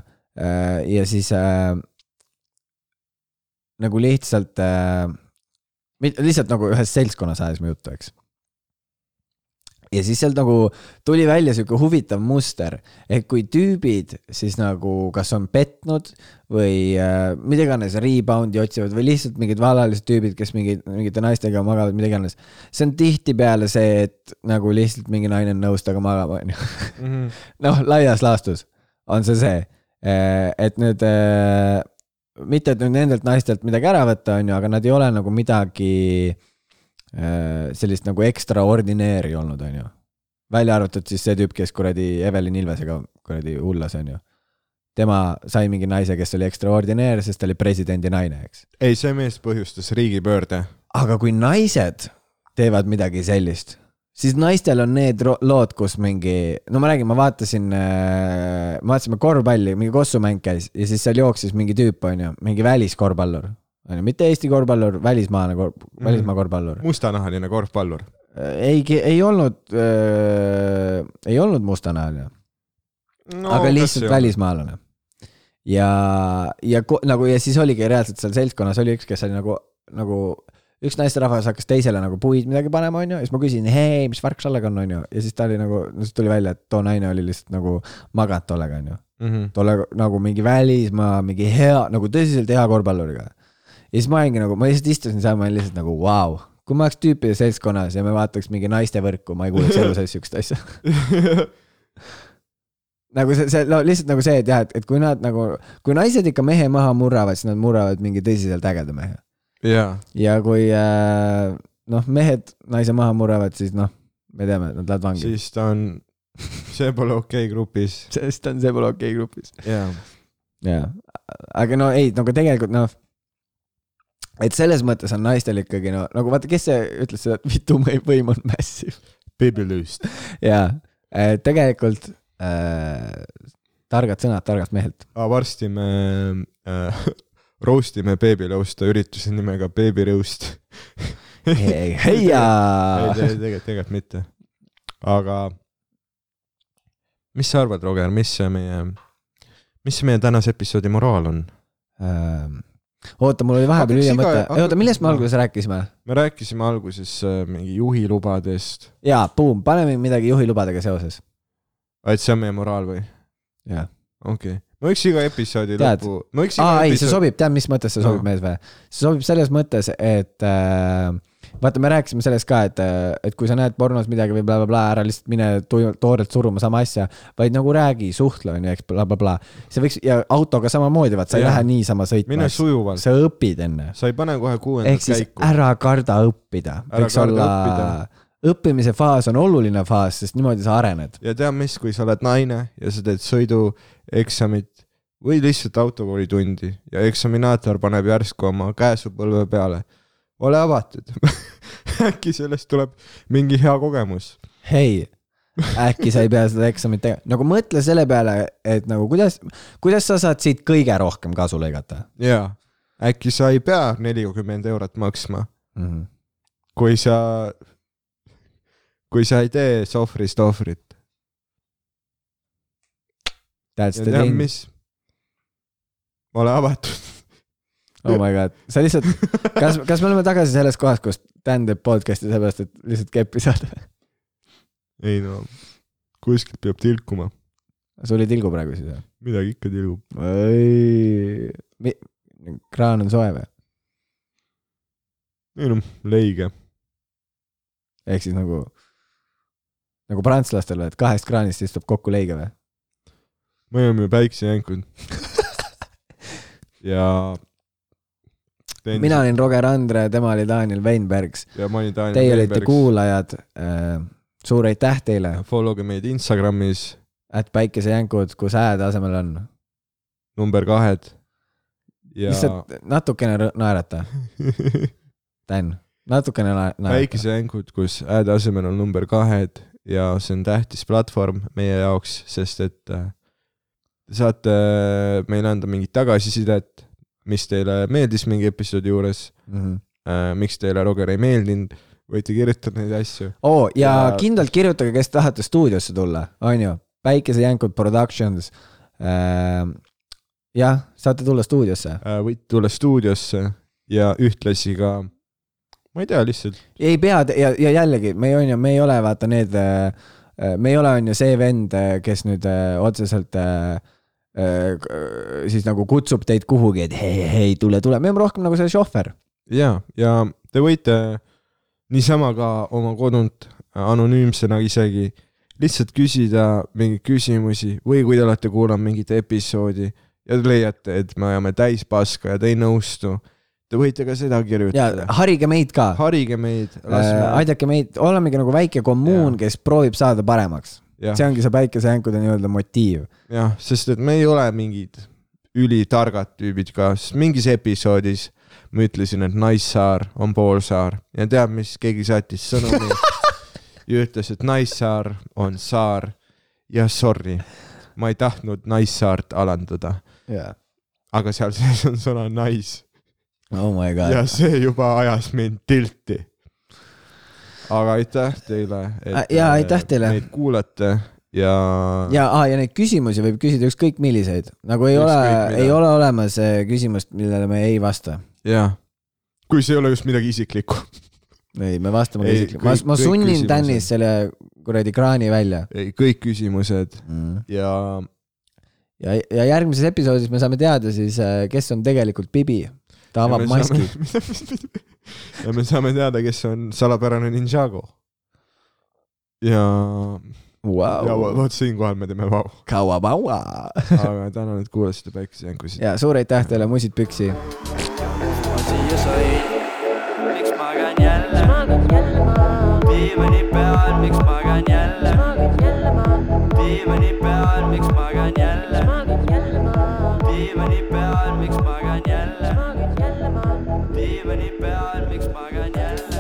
ja siis äh, nagu lihtsalt äh, , lihtsalt nagu ühes seltskonnas ajasime juttu , eks . ja siis sealt nagu tuli välja sihuke huvitav muster , et kui tüübid siis nagu kas on petnud või äh, mida iganes rebound'i otsivad või lihtsalt mingid valalised tüübid , kes mingi , mingite naistega magavad , mida iganes . see on tihtipeale see , et nagu lihtsalt mingi naine on nõus temaga magama , onju . noh , laias laastus on see see , et need , mitte et nüüd nendelt naistelt midagi ära võtta , onju , aga nad ei ole nagu midagi eh, sellist nagu ekstraordineeri olnud , onju . välja arvatud siis see tüüp , kes kuradi Evelyn Ilvesega kuradi hullas , onju . tema sai mingi naise , kes oli ekstraordinäär , sest ta oli presidendi naine , eks .
ei , see mees põhjustas riigipöörde
aga kui naised teevad midagi sellist , siis naistel on need ro- lood , kus mingi , no ma räägin , ma vaatasin , äh, me vaatasime korvpalli , mingi kossumäng käis ja siis seal jooksis mingi tüüp , onju , mingi väliskorvpallur , onju , mitte Eesti korvpallur , välismaane kor- , välismaa korvpallur .
mustanahaline korvpallur .
ei , ei olnud , ei olnud mustanahaline
No,
no, , aga lihtsalt . välismaalane . ja , ja ko- nagu ja siis oligi reaalselt seal seltskonnas oli üks , kes oli nagu , nagu üks naisterahvas hakkas teisele nagu puid midagi panema , onju , ja siis ma küsin , hei , mis värk sellega on , onju , ja siis ta oli nagu , no siis tuli välja , et too naine oli lihtsalt nagu maganud tollega , onju . tolle nagu mingi välismaa , mingi hea , nagu tõsiselt hea korvpalluriga . ja siis ma olingi nagu , ma lihtsalt istusin seal , ma olin lihtsalt nagu vau wow. kui ma oleks tüüpide seltskonnas ja me vaataks mingi naistevõrku , ma ei kuuleks elu sees siukest asja . nagu see , see no lihtsalt nagu see , et jah , et , et kui nad nagu , kui naised ikka mehe maha murravad , siis nad murravad mingi tõsiselt ägeda mehe .
jaa ,
ja kui äh, noh , mehed naise maha murravad , siis noh , me teame , nad lähevad vangi .
siis ta on , see pole okei okay grupis .
sest on see pole okei okay grupis .
jaa .
jaa , aga no ei , no aga tegelikult noh , et selles mõttes on naistel ikkagi no nagu vaata , kes see ütles seda , et mitu mõi- võim on mässiv
Bibelüüst .
jaa , tegelikult äh, targad sõnad targalt mehelt .
varsti me äh, roast ime beebilõusta ürituse nimega Beebilõust .
heia
ei , tegelikult , tegelikult mitte . aga mis sa arvad , Roger , mis see meie , mis see meie tänase episoodi moraal on ?
Ähm, oota , mul oli vahepeal
Hakkaks
ülim
iga-
mõte ,
hakkaks-
oota , millest me alguses rääkisime ?
me rääkisime alguses äh, mingi juhilubadest ,
jaa , buum , paneme midagi juhilubadega seoses .
et see on meie moraal või ?
jaa .
okei okay. , ma võiks iga episoodi
Tead-
lõpu , ma võiks iga
aa , ei , see
episood-
sobib , tead , mis mõttes see sobib
No.
no. mees või ? see sobib selles mõttes , et äh, vaata , me rääkisime sellest ka , et , et kui sa näed pornos midagi või blablabla , ära lihtsalt mine tu- toorelt suruma sama asja , vaid nagu räägi , suhtle , on ju , eks blablabla . see võiks ja autoga samamoodi , vaat sa ei
Jah.
lähe niisama sõitma
mine , sujuvalt ,
sa õpid enne .
sa ei pane kohe
ehk
kuuendat
siis
käiku .
ära karda õppida ,
Ära
võiks
karda
olla , õppimise faas on oluline faas , sest niimoodi sa arened .
ja tea mis , kui sa oled naine ja sa teed sõidueksamit või lihtsalt autokoolitundi ja eksaminaator paneb järsku oma käe su põlve peale , ole avatud . äkki sellest tuleb mingi hea kogemus .
hei , äkki sa ei pea seda eksamit tegema , nagu mõtle selle peale , et nagu kuidas , kuidas sa saad siit kõige rohkem kasu lõigata
jaa , äkki sa ei pea nelikümmend eurot maksma ,
mm . -hmm.
kui sa , kui sa ei tee sohvrist ohvrit .
That's
ja
the
tead
thing ,
mis ? ole avatud .
oh my god , sa lihtsalt , kas , kas me oleme tagasi selles kohas , kus Dan teeb podcast'i sellepärast , et lihtsalt keppi saada ?
ei no , kuskilt peab tilkuma ,
sul ei tilgu praegu siis või ?
midagi ikka tilgub .
või , kraan on soe või ?
ei noh , leige .
ehk siis nagu , nagu prantslastel või , et kahest kraanist istub kokku leige või ?
me oleme päiksejänkud . ja .
mina olin Roger Andre , tema oli Daniel Weinbergs ,
ja ma olin Daniel .
teie olite . kuulajad . suur aitäh teile ,
Follow ge meid Instagramis ,
et päikesejänkud , kus hääd asemel on .
number kahed . ja
lihtsalt natukene rõ- naerata , Dan , natukene na- naerata .
päikesejänkud , kus hääde asemel on number kahed ja see on tähtis platvorm meie jaoks , sest et äh, te saate äh, meile anda mingit tagasisidet , mis teile meeldis mingi episoodi juures ,
Mhm.
miks teile Roger ei meeldinud , võite kirjutada neid asju .
oo , ja
Ja-
kindlalt kirjutage , kes tahate stuudiosse tulla , on ju , päikesejänkud Productions . jah , saate tulla stuudiosse .
Äh, võid tulla stuudiosse ja ühtlasi ka , ma ei tea , lihtsalt
ei pea te- ja , ja jällegi me ei on ju , me ei ole vaata need , me ei ole on ju see vend , kes nüüd äh, otseselt äh, äh, k- siis nagu kutsub teid kuhugi , et hei , hei , tule , tule , me oleme rohkem nagu see šohver .
ja , ja te võite niisama ka oma kodunt äh, anonüümsena isegi lihtsalt küsida mingeid küsimusi või kui te olete kuulanud mingit episoodi ja te leiate , et me ajame täis paska ja te ei nõustu , te võite ka seda
ja
kirjutada .
harige meid ka ,
harige meid ,
äh,
laseme ,
aidake meid , olemegi nagu väike kommuun , kes proovib saada paremaks .
jah ,
see ongi see päikesejänkude nii-öelda motiiv .
jah , sest et me ei ole mingid ülitargad tüübid ka , sest mingis episoodis ma ütlesin , et Naissaar on poolsaar ja teab , mis keegi saatis sõnumi ja ütles , et Naissaar on saar ja sorry , ma ei tahtnud Naissaart alandada ,
jaa .
aga seal sees on sõna nais
Oh my god
ja . see juba ajas mind tilti . aga aitäh teile ,
Ah, jaa, aitäh teile.
meid kuulate ja,
ja , ja neid küsimusi võib küsida ükskõik milliseid , nagu ei ole
Ükskõik , mida.
ei ole olemas eh, küsimust , millele me ei vasta .
ja. , kui see ei ole just midagi isiklikku ,
ei , me vastame ka
Ei,
isiklikult , ma
kõik- ,
ma
kõik
sunnin
küsimused.
Tännis selle kuradi kraani välja
kõik küsimused
mm. .
ja
ja , ja järgmises episoodis me saame teada siis , kes on tegelikult Bibi . ta avab
ja me
maski .
saame... . ja me saame teada , kes on salapärane Ninjago . ja, ja vot-
Vau ,
vot siinkohal me teeme vau ,
kauapaua .
aga tänan , et kuulasite Päikesejänkusid .
ja suur aitäh teile , musid püksi .
ma siia sain , miks magan jälle ,
magan jälle maal ,
diivani peal , miks magan jälle ,
magan jälle maal ,
diivani peal , miks magan jälle ,
magan jälle maal ,
diivani peal , miks magan jälle ,
magan jälle maal .
diivani peal , miks magan jälle .